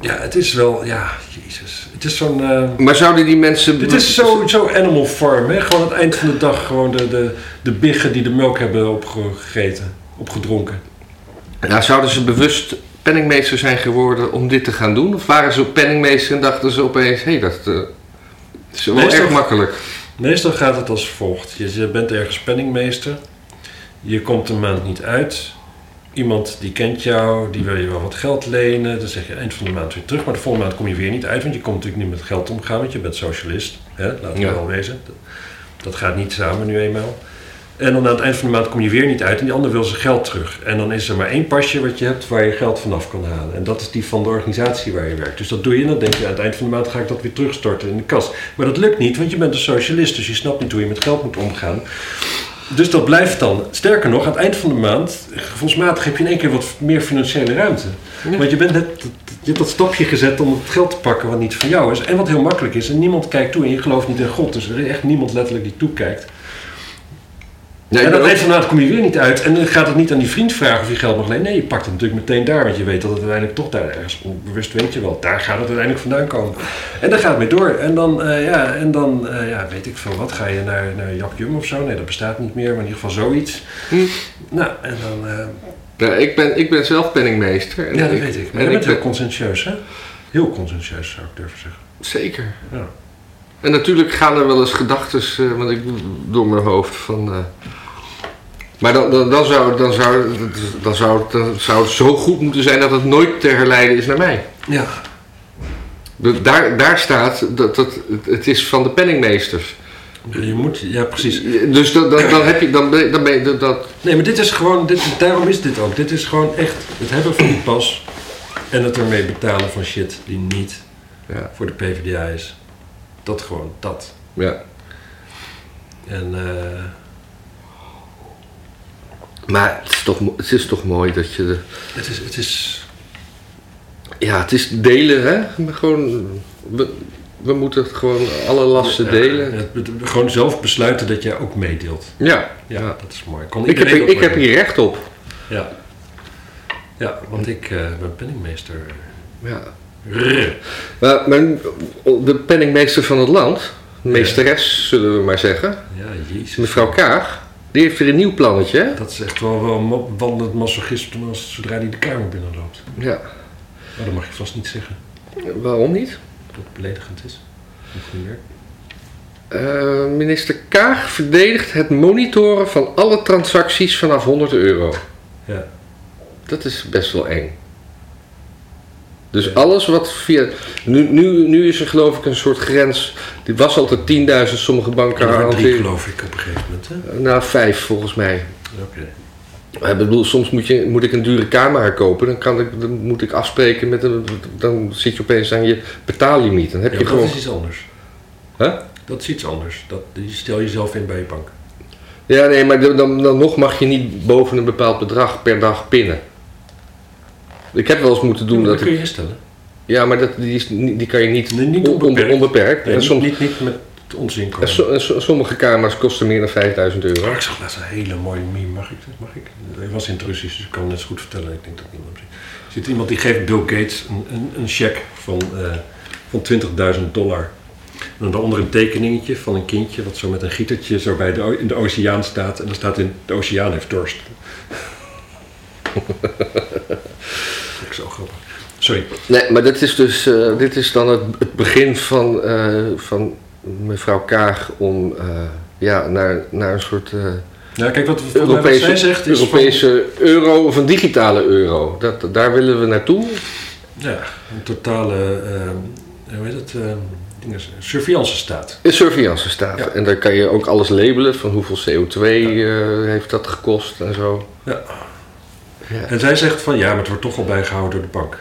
Speaker 1: Ja, het is wel, ja, jezus. Het is zo'n. eh,
Speaker 2: Maar zouden die mensen...
Speaker 1: Dit is zo, zo Animal Farm, hè? Gewoon aan het eind van de dag gewoon de, de, de biggen die de melk hebben opgegeten, opgedronken.
Speaker 2: Nou, zouden ze bewust penningmeester zijn geworden om dit te gaan doen? Of waren ze penningmeester en dachten ze opeens... Hé, dat eh, is wel
Speaker 1: Nee, is
Speaker 2: erg
Speaker 1: toch-
Speaker 2: makkelijk.
Speaker 1: Meestal gaat het als volgt: je je bent ergens penningmeester, je komt een maand niet uit, iemand die kent jou, die wil je wel wat geld lenen. Dan zeg je eind van de maand weer terug. Maar de volgende maand kom je weer niet uit, want je komt natuurlijk niet met geld omgaan, want je bent socialist. Hè? Laten we
Speaker 2: Ja.
Speaker 1: wel wezen. Dat, dat gaat niet samen nu eenmaal. En dan aan het eind van de maand kom je weer niet uit en die ander wil zijn geld terug. En dan is er maar één pasje wat je hebt waar je geld vanaf kan halen. En dat is die van de organisatie waar je werkt. Dus dat doe je en dan denk je aan het eind van de maand ga ik dat weer terugstorten in de kas. Maar dat lukt niet, want je bent een socialist, dus je snapt niet hoe je met geld moet omgaan. Dus dat blijft dan. Sterker nog, aan het eind van de maand, gevoelsmatig heb je in één keer wat meer financiële ruimte.
Speaker 2: Ja.
Speaker 1: Want je, bent net, je hebt dat stapje gezet om het geld te pakken wat niet van jou is. En wat heel makkelijk is. En niemand kijkt toe en je gelooft niet in God. Dus er is echt niemand letterlijk die toekijkt.
Speaker 3: Ja,
Speaker 1: en
Speaker 3: ik ben
Speaker 1: aan het
Speaker 3: ook-
Speaker 1: eind van de maand kom je weer niet uit. En dan gaat het niet aan die vriend vragen of je geld mag lenen. Nee, je pakt het natuurlijk meteen daar. Want je weet dat het uiteindelijk toch daar ergens onbewust weet je wel. Daar gaat het uiteindelijk vandaan komen. En daar gaat het mee door. En dan, eh, ja, en dan eh, ja, weet ik veel wat. Ga je naar, naar Jak Jum of zo? Nee, dat bestaat niet meer. Maar in ieder geval zoiets.
Speaker 2: Hm.
Speaker 1: Nou, en dan... eh,
Speaker 2: Ja, ik, ben, ik ben zelf penningmeester. En
Speaker 1: ja, dat weet ik. Maar
Speaker 2: en
Speaker 1: je
Speaker 2: ik
Speaker 1: bent heel
Speaker 2: ben,
Speaker 1: conscientieus, hè? Heel conscientieus, zou ik durven zeggen.
Speaker 2: zeker.
Speaker 1: Ja.
Speaker 2: En natuurlijk gaan er wel eens gedachten eh, want ik, door mijn hoofd van. eh, maar dan, dan, dan, zou, dan, zou, dan, zou, het- dan zou het zo goed moeten zijn dat het nooit te herleiden is naar mij.
Speaker 1: Ja.
Speaker 2: Dus daar, daar staat dat, dat het- het is van de penningmeesters.
Speaker 1: Je moet, ja, precies.
Speaker 2: Dus dan, dan, dan heb je, dan ben, dan ben je dat- dat.
Speaker 1: Nee, maar dit is gewoon, dit, daarom is dit ook. Dit is gewoon echt het hebben van die pas en het ermee betalen van shit die niet
Speaker 2: Ja,
Speaker 1: voor de PvdA is. Dat gewoon, dat.
Speaker 2: ja.
Speaker 1: En eh,
Speaker 2: Maar het is, toch, mo- het is toch mooi dat je. De,
Speaker 1: het is, het is,
Speaker 2: ja, het is delen, hè? Maar gewoon. We, we moeten gewoon alle lasten
Speaker 1: Ja,
Speaker 2: delen.
Speaker 1: het- het- gewoon zelf besluiten dat jij ook meedeelt.
Speaker 2: Ja,
Speaker 1: Ja,
Speaker 2: ja.
Speaker 1: dat is mooi. Kon
Speaker 2: Ik, heb,
Speaker 1: iedereen
Speaker 2: hier-
Speaker 1: ook
Speaker 2: ik heb
Speaker 1: meedoen.
Speaker 2: hier recht op.
Speaker 1: Ja. ja, want ik eh, ben penningmeester.
Speaker 2: Ja.
Speaker 1: Rrr.
Speaker 2: Maar, maar de penningmeester van het land, meesteres zullen we maar zeggen,
Speaker 1: Ja, jezus.
Speaker 2: mevrouw Kaag, die heeft weer een nieuw plannetje. hè?
Speaker 1: Dat is echt wel, wel een ma- wandelend masochisme als zodra die de kamer binnenloopt.
Speaker 2: Ja,
Speaker 1: Maar dat mag je vast niet zeggen,
Speaker 2: waarom niet?
Speaker 1: dat het beledigend is. Op geen werk.
Speaker 2: Eh, minister Kaag verdedigt het monitoren van alle transacties vanaf 100 euro.
Speaker 1: Ja.
Speaker 2: Dat is best wel eng. Dus alles wat via. Nu, nu, nu is er geloof ik een soort grens. Die was altijd 10.000, sommige banken
Speaker 1: Er waren drie,
Speaker 2: hanteren-
Speaker 1: geloof ik, op een gegeven moment. Hè?
Speaker 2: Nou, vijf volgens mij.
Speaker 1: Oké.
Speaker 2: Maar Ik bedoel, soms moet, je, moet ik een dure camera kopen. Dan, kan ik, dan moet ik afspreken met een. Dan zit je opeens aan je betaallimiet. Dan heb
Speaker 1: Ja,
Speaker 2: je
Speaker 1: maar dat
Speaker 2: gewoon.
Speaker 1: is iets anders.
Speaker 2: Hè?
Speaker 1: Dat is iets anders. Dat, die stel jezelf in bij je bank.
Speaker 2: Ja, nee, maar dan, dan, dan nog mag je niet boven een bepaald bedrag per dag pinnen. Ik heb wel eens moeten doen
Speaker 1: dat
Speaker 2: dat
Speaker 1: kun
Speaker 2: ik.
Speaker 1: je instellen.
Speaker 2: Ja, maar dat, die, is, niet- die kan je niet,
Speaker 1: Nee, niet
Speaker 2: on- on-
Speaker 1: onbeperkt.
Speaker 2: onbeperkt.
Speaker 1: Nee,
Speaker 2: en
Speaker 1: niet,
Speaker 2: soms,
Speaker 1: niet, niet met ons inkomen.
Speaker 2: en so- en so- sommige kamers kosten meer dan 5000 euro.
Speaker 1: Maar ik zag laatst een hele mooie meme. Mag ik dat? Mag ik? Hij was in het Russisch, dus ik kan het net zo goed vertellen. Ik denk dat niemand hem ziet. Er zit iemand die geeft Bill Gates een, een, een cheque van, eh, van 20.000 dollar. En daaronder een tekeningetje van een kindje wat zo met een gietertje zo bij de, o- in de oceaan staat. En er staat in, de oceaan heeft dorst. Vond ik zo grappig. Sorry.
Speaker 2: Nee, maar dit is dus, eh, dit is dan het, het begin van, eh, van mevrouw Kaag om eh, ja, naar, naar een soort eh,
Speaker 1: Nou, kijk, wat, wat, wat
Speaker 2: Europese,
Speaker 1: zij zegt is... van-
Speaker 2: Europese euro of een digitale euro. Dat, daar willen we naartoe.
Speaker 1: ja, een totale, eh, hoe heet het, eh, dinges- surveillance staat.
Speaker 2: Een surveillance staat.
Speaker 1: Ja.
Speaker 2: En daar kan je ook alles labelen van hoeveel CO2 eh, heeft dat gekost en zo.
Speaker 1: Ja.
Speaker 2: Ja.
Speaker 1: En zij zegt van ja, maar het wordt toch al bijgehouden door de bank.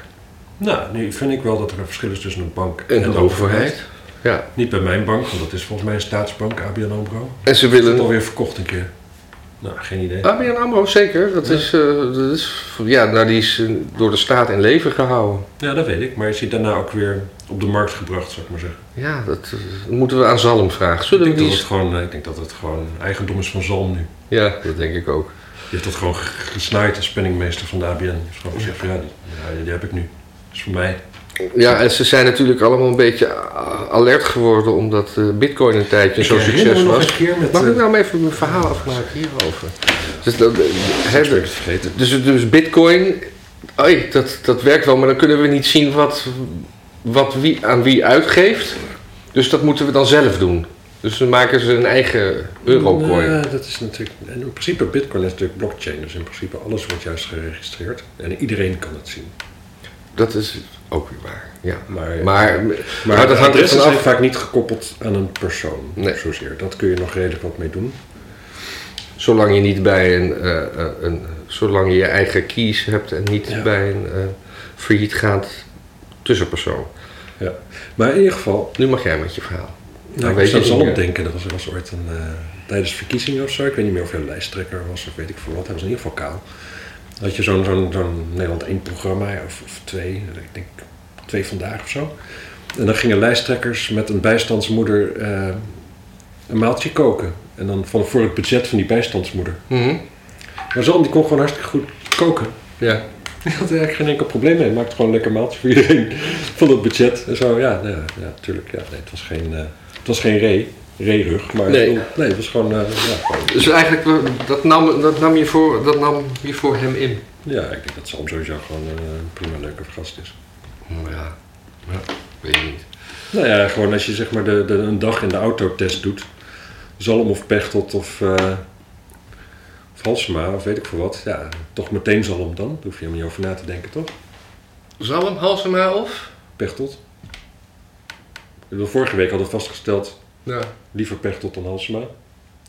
Speaker 1: Nou, nu vind ik wel dat er een verschil is tussen een bank en,
Speaker 2: En de overheid. Ja.
Speaker 1: Niet bij mijn bank, want dat is volgens mij een staatsbank, ABN AMRO.
Speaker 2: En ze
Speaker 1: Is het
Speaker 2: willen. Ah.
Speaker 1: alweer verkocht een keer? Nou, geen idee.
Speaker 2: ABN AMRO, zeker. Dat
Speaker 1: Ja.
Speaker 2: is, eh, dat is, ja, nou, die is eh, door de staat in leven gehouden.
Speaker 1: Ja, dat weet ik. Maar is hij daarna ook weer op de markt gebracht, zou ik maar zeggen.
Speaker 2: Ja, dat eh, moeten we aan Zalm vragen. Zullen we
Speaker 1: ik, denk
Speaker 2: die...
Speaker 1: dat het gewoon, eh, ik denk dat het gewoon eigendom is van Zalm nu.
Speaker 2: Ja, dat denk ik ook.
Speaker 1: Die heeft dat gewoon g- gesnaaid als penningmeester van de ABN. Die heeft gewoon gezegd van ja, die, ja, die heb ik nu. Dat is voor mij.
Speaker 2: Ja, en ze zijn natuurlijk allemaal een beetje ah, alert geworden omdat eh, bitcoin een tijdje
Speaker 1: Ik
Speaker 2: zo'n
Speaker 1: herinner me
Speaker 2: succes
Speaker 1: nog
Speaker 2: was.
Speaker 1: een keer met...
Speaker 2: Mag
Speaker 1: eh,
Speaker 2: ik nou maar even mijn verhaal afmaken hierover? Dus, dat, eh, hè,
Speaker 1: ik ben het vergeten.
Speaker 2: dus, dus bitcoin, oei, dat, dat werkt wel, maar dan kunnen we niet zien wat, wat wie aan wie uitgeeft. Dus dat moeten we dan zelf doen. Dus dan maken ze een eigen eurocoin.
Speaker 1: Nee, dat is natuurlijk. En in principe, Bitcoin is natuurlijk blockchain. Dus in principe, alles wordt juist geregistreerd. En iedereen kan het zien.
Speaker 2: Dat is ook weer waar. Ja.
Speaker 1: Maar,
Speaker 2: Maar,
Speaker 1: maar
Speaker 2: maar dat
Speaker 1: de
Speaker 2: hangt er
Speaker 1: adressen zijn
Speaker 2: vanaf.
Speaker 1: vaak niet gekoppeld aan een persoon.
Speaker 2: Nee.
Speaker 1: Zozeer. Dat kun je nog redelijk wat mee doen.
Speaker 2: Zolang je niet bij een, eh, eh, een zolang je je eigen keys hebt en niet
Speaker 1: Ja.
Speaker 2: bij een eh failliet gaat tussenpersoon.
Speaker 1: Ja. Maar in ieder geval,
Speaker 2: Nu mag jij met je verhaal.
Speaker 1: Nou, ik
Speaker 2: weet
Speaker 1: weet
Speaker 2: je
Speaker 1: zelfs
Speaker 2: niet
Speaker 1: al
Speaker 2: meer.
Speaker 1: op denken. Er was, er was ooit een, eh, tijdens verkiezingen of zo, ik weet niet meer of hij lijsttrekker was of weet ik veel wat, hij was in ieder geval kaal. Dat je zo'n zo'n zo'n Nederland 1 programma of, of twee, ik denk twee vandaag of zo. En dan gingen lijsttrekkers met een bijstandsmoeder eh, een maaltje koken. En dan van voor het budget van die bijstandsmoeder. Maar Zalm die kon gewoon hartstikke goed koken.
Speaker 2: Ja.
Speaker 1: Die had er eigenlijk geen enkel probleem mee. Maakte gewoon een lekker maaltje voor iedereen van het budget. En zo, ja, nou ja, ja tuurlijk. Ja, nee, het was geen, eh het was geen ree, reerug. Maar
Speaker 2: Nee.
Speaker 1: nee. nee, het was gewoon, eh, ja, gewoon-
Speaker 2: Dus eigenlijk, eh, dat nam, dat, nam je voor, dat nam je voor hem in.
Speaker 1: ja, ik denk dat Sam sowieso gewoon eh, een prima leuke gast is.
Speaker 2: Oh, Ja. ja. Weet je niet.
Speaker 1: Nou ja, gewoon als je zeg maar de, de, een dag in de autotest doet. Zalm of Pechtold of, eh of Halsema of weet ik veel wat. Ja, toch meteen Zalm dan. Daar hoef je helemaal niet over na te denken, toch?
Speaker 2: Zalm, Halsema of?
Speaker 1: Pechtold. Ik bedoel, vorige week hadden we vastgesteld
Speaker 2: Ja.
Speaker 1: Liever Pechtold dan Halsema.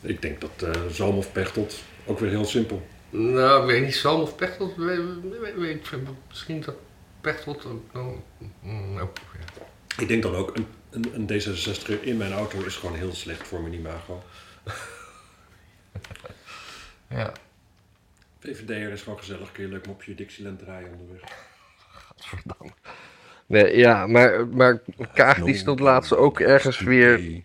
Speaker 1: Ik denk dat eh Zalm of Pechtold ook weer heel simpel.
Speaker 2: Nou, weet niet, Zalm of Pechtold? Weet, weet, weet, weet- misschien dat Pechtold... ook- Oh, mm, nou, ja.
Speaker 1: Ik denk dan ook, een, een, een D66 in mijn auto is gewoon heel slecht voor mijn imago.
Speaker 2: Ja.
Speaker 1: VVD'er is gewoon gezellig, kun je leuk mopje Dixieland draaien onderweg.
Speaker 2: Nee, ja, maar, maar Kaag die stond laatst ook ergens weer...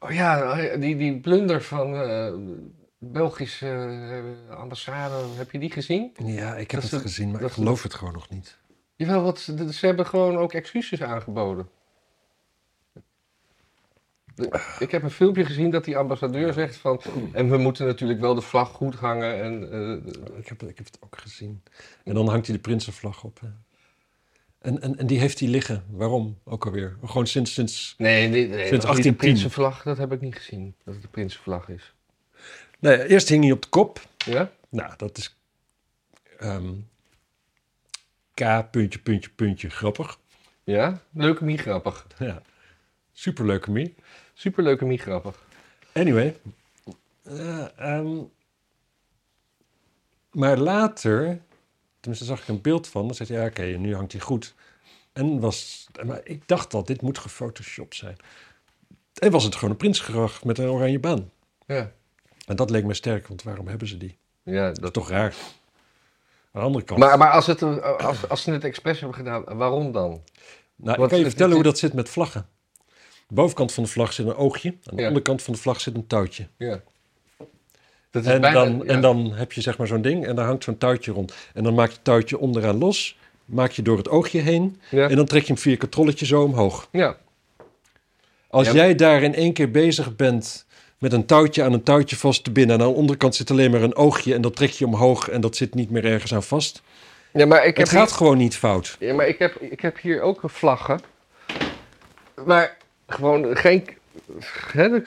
Speaker 2: Oh ja, die, die blunder van eh Belgische eh, ambassade, heb je die gezien?
Speaker 1: Ja, ik
Speaker 2: heb Dat is het de- gezien, maar dat ik is-
Speaker 1: geloof het gewoon nog niet.
Speaker 2: Jawel, wat, ze ze hebben gewoon ook excuses aangeboden. De- Ik heb een filmpje gezien dat die ambassadeur zegt van... En we moeten natuurlijk wel de vlag goed hangen en... eh,
Speaker 1: Ik heb, ik heb het ook gezien. En dan hangt hij de Prinsenvlag op. hè. En, en, en die heeft hij liggen. Waarom? Ook alweer. Gewoon sinds... sinds...
Speaker 2: nee, nee, nee.
Speaker 1: Sinds
Speaker 2: niet
Speaker 1: 1810.
Speaker 2: de prinsenvlag, dat heb ik niet gezien. Dat het de prinsenvlag is.
Speaker 1: Nee, Nou eerst hing hij op de kop.
Speaker 2: Ja?
Speaker 1: Nou, dat is ehm, K puntje, puntje, puntje grappig.
Speaker 2: Ja? Leuke grappig.
Speaker 1: Ja. Superleuke mie.
Speaker 2: Superleuke grappig.
Speaker 1: Anyway. Eh, ehm, maar later, tenminste zag ik een beeld van, dan zei hij, ja oké, nu hangt hij goed. En was, maar ik dacht al, dit moet gefotoshopt zijn. En was het gewoon een prinsgracht met een oranje baan.
Speaker 2: Ja.
Speaker 1: En dat leek me sterk, want waarom hebben ze die?
Speaker 2: Ja,
Speaker 1: Dat is
Speaker 2: dat...
Speaker 1: toch raar. Aan de andere kant.
Speaker 2: Maar, maar als, het, eh, als, als ze het expres hebben gedaan, waarom dan?
Speaker 1: Nou, ik
Speaker 2: Want
Speaker 1: kan je
Speaker 2: het-
Speaker 1: vertellen
Speaker 2: het-
Speaker 1: hoe dat zit met vlaggen. De bovenkant van de vlag zit een oogje. Aan de
Speaker 2: Ja.
Speaker 1: onderkant van de vlag zit een touwtje.
Speaker 2: Ja. Dat is
Speaker 1: En,
Speaker 2: bijna-
Speaker 1: dan,
Speaker 2: ja.
Speaker 1: en dan heb je zeg maar zo'n ding en daar hangt zo'n touwtje rond. En dan maak je het touwtje onderaan los. Maak je door het oogje heen.
Speaker 2: Ja.
Speaker 1: En dan trek je hem via katrolletje zo omhoog.
Speaker 2: ja.
Speaker 1: Als
Speaker 2: Ja.
Speaker 1: jij daar in één keer bezig bent met een touwtje aan een touwtje vast te binden. En aan de onderkant zit alleen maar een oogje. En dat trek je omhoog en dat zit niet meer ergens aan vast.
Speaker 2: Ja, maar ik heb
Speaker 1: het gaat gewoon niet fout.
Speaker 2: Ja, maar ik heb, ik heb hier ook een vlaggen. Maar gewoon geen. Hè, dat-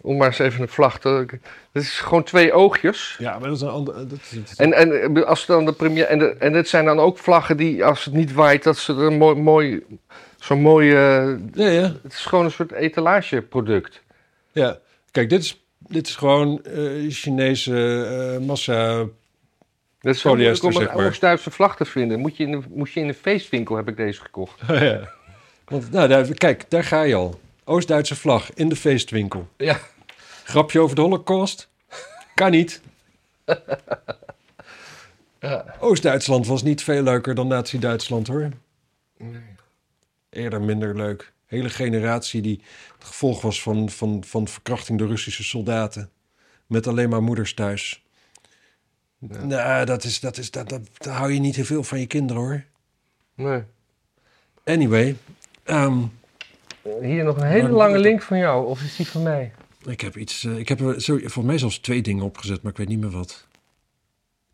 Speaker 2: om maar eens even een vlag te. Het is gewoon twee oogjes.
Speaker 1: Ja, maar dat is een ander... Dat
Speaker 2: En, en, eh, als dan de premier, en, de- en dit zijn dan ook vlaggen die, als het niet waait, dat ze er mooi. mooi Zo'n mooi. eh,
Speaker 1: ja, ja.
Speaker 2: het is gewoon een soort etalageproduct.
Speaker 1: Ja, kijk, dit is, dit is gewoon eh, Chinese eh, massa.
Speaker 2: Dat is zo moeilijk
Speaker 1: Polyester,
Speaker 2: om
Speaker 1: zeg maar.
Speaker 2: een Oost-Duitse vlag te vinden. Moet je, in de, moest je in een feestwinkel, heb ik deze gekocht.
Speaker 1: ja. Want, nou, daar, kijk, daar ga je al. Oost-Duitse vlag in de feestwinkel.
Speaker 2: Ja.
Speaker 1: Grapje over de Holocaust? Kan niet.
Speaker 2: Ja.
Speaker 1: Oost-Duitsland was niet veel leuker dan Nazi-Duitsland hoor. Eerder minder leuk. Hele generatie die het gevolg was van, van, van verkrachting door Russische soldaten. Met alleen maar moeders thuis. Nou, dat is, dat is, dat, dat, daar hou je niet heel veel van je kinderen hoor.
Speaker 2: Nee.
Speaker 1: Anyway, ehm,
Speaker 2: Hier nog een hele
Speaker 1: Maar-
Speaker 2: lange link van jou, of is die van mij?
Speaker 1: ik heb iets. eh, ik heb er zo, volgens mij zelfs twee dingen opgezet, maar ik weet niet meer wat.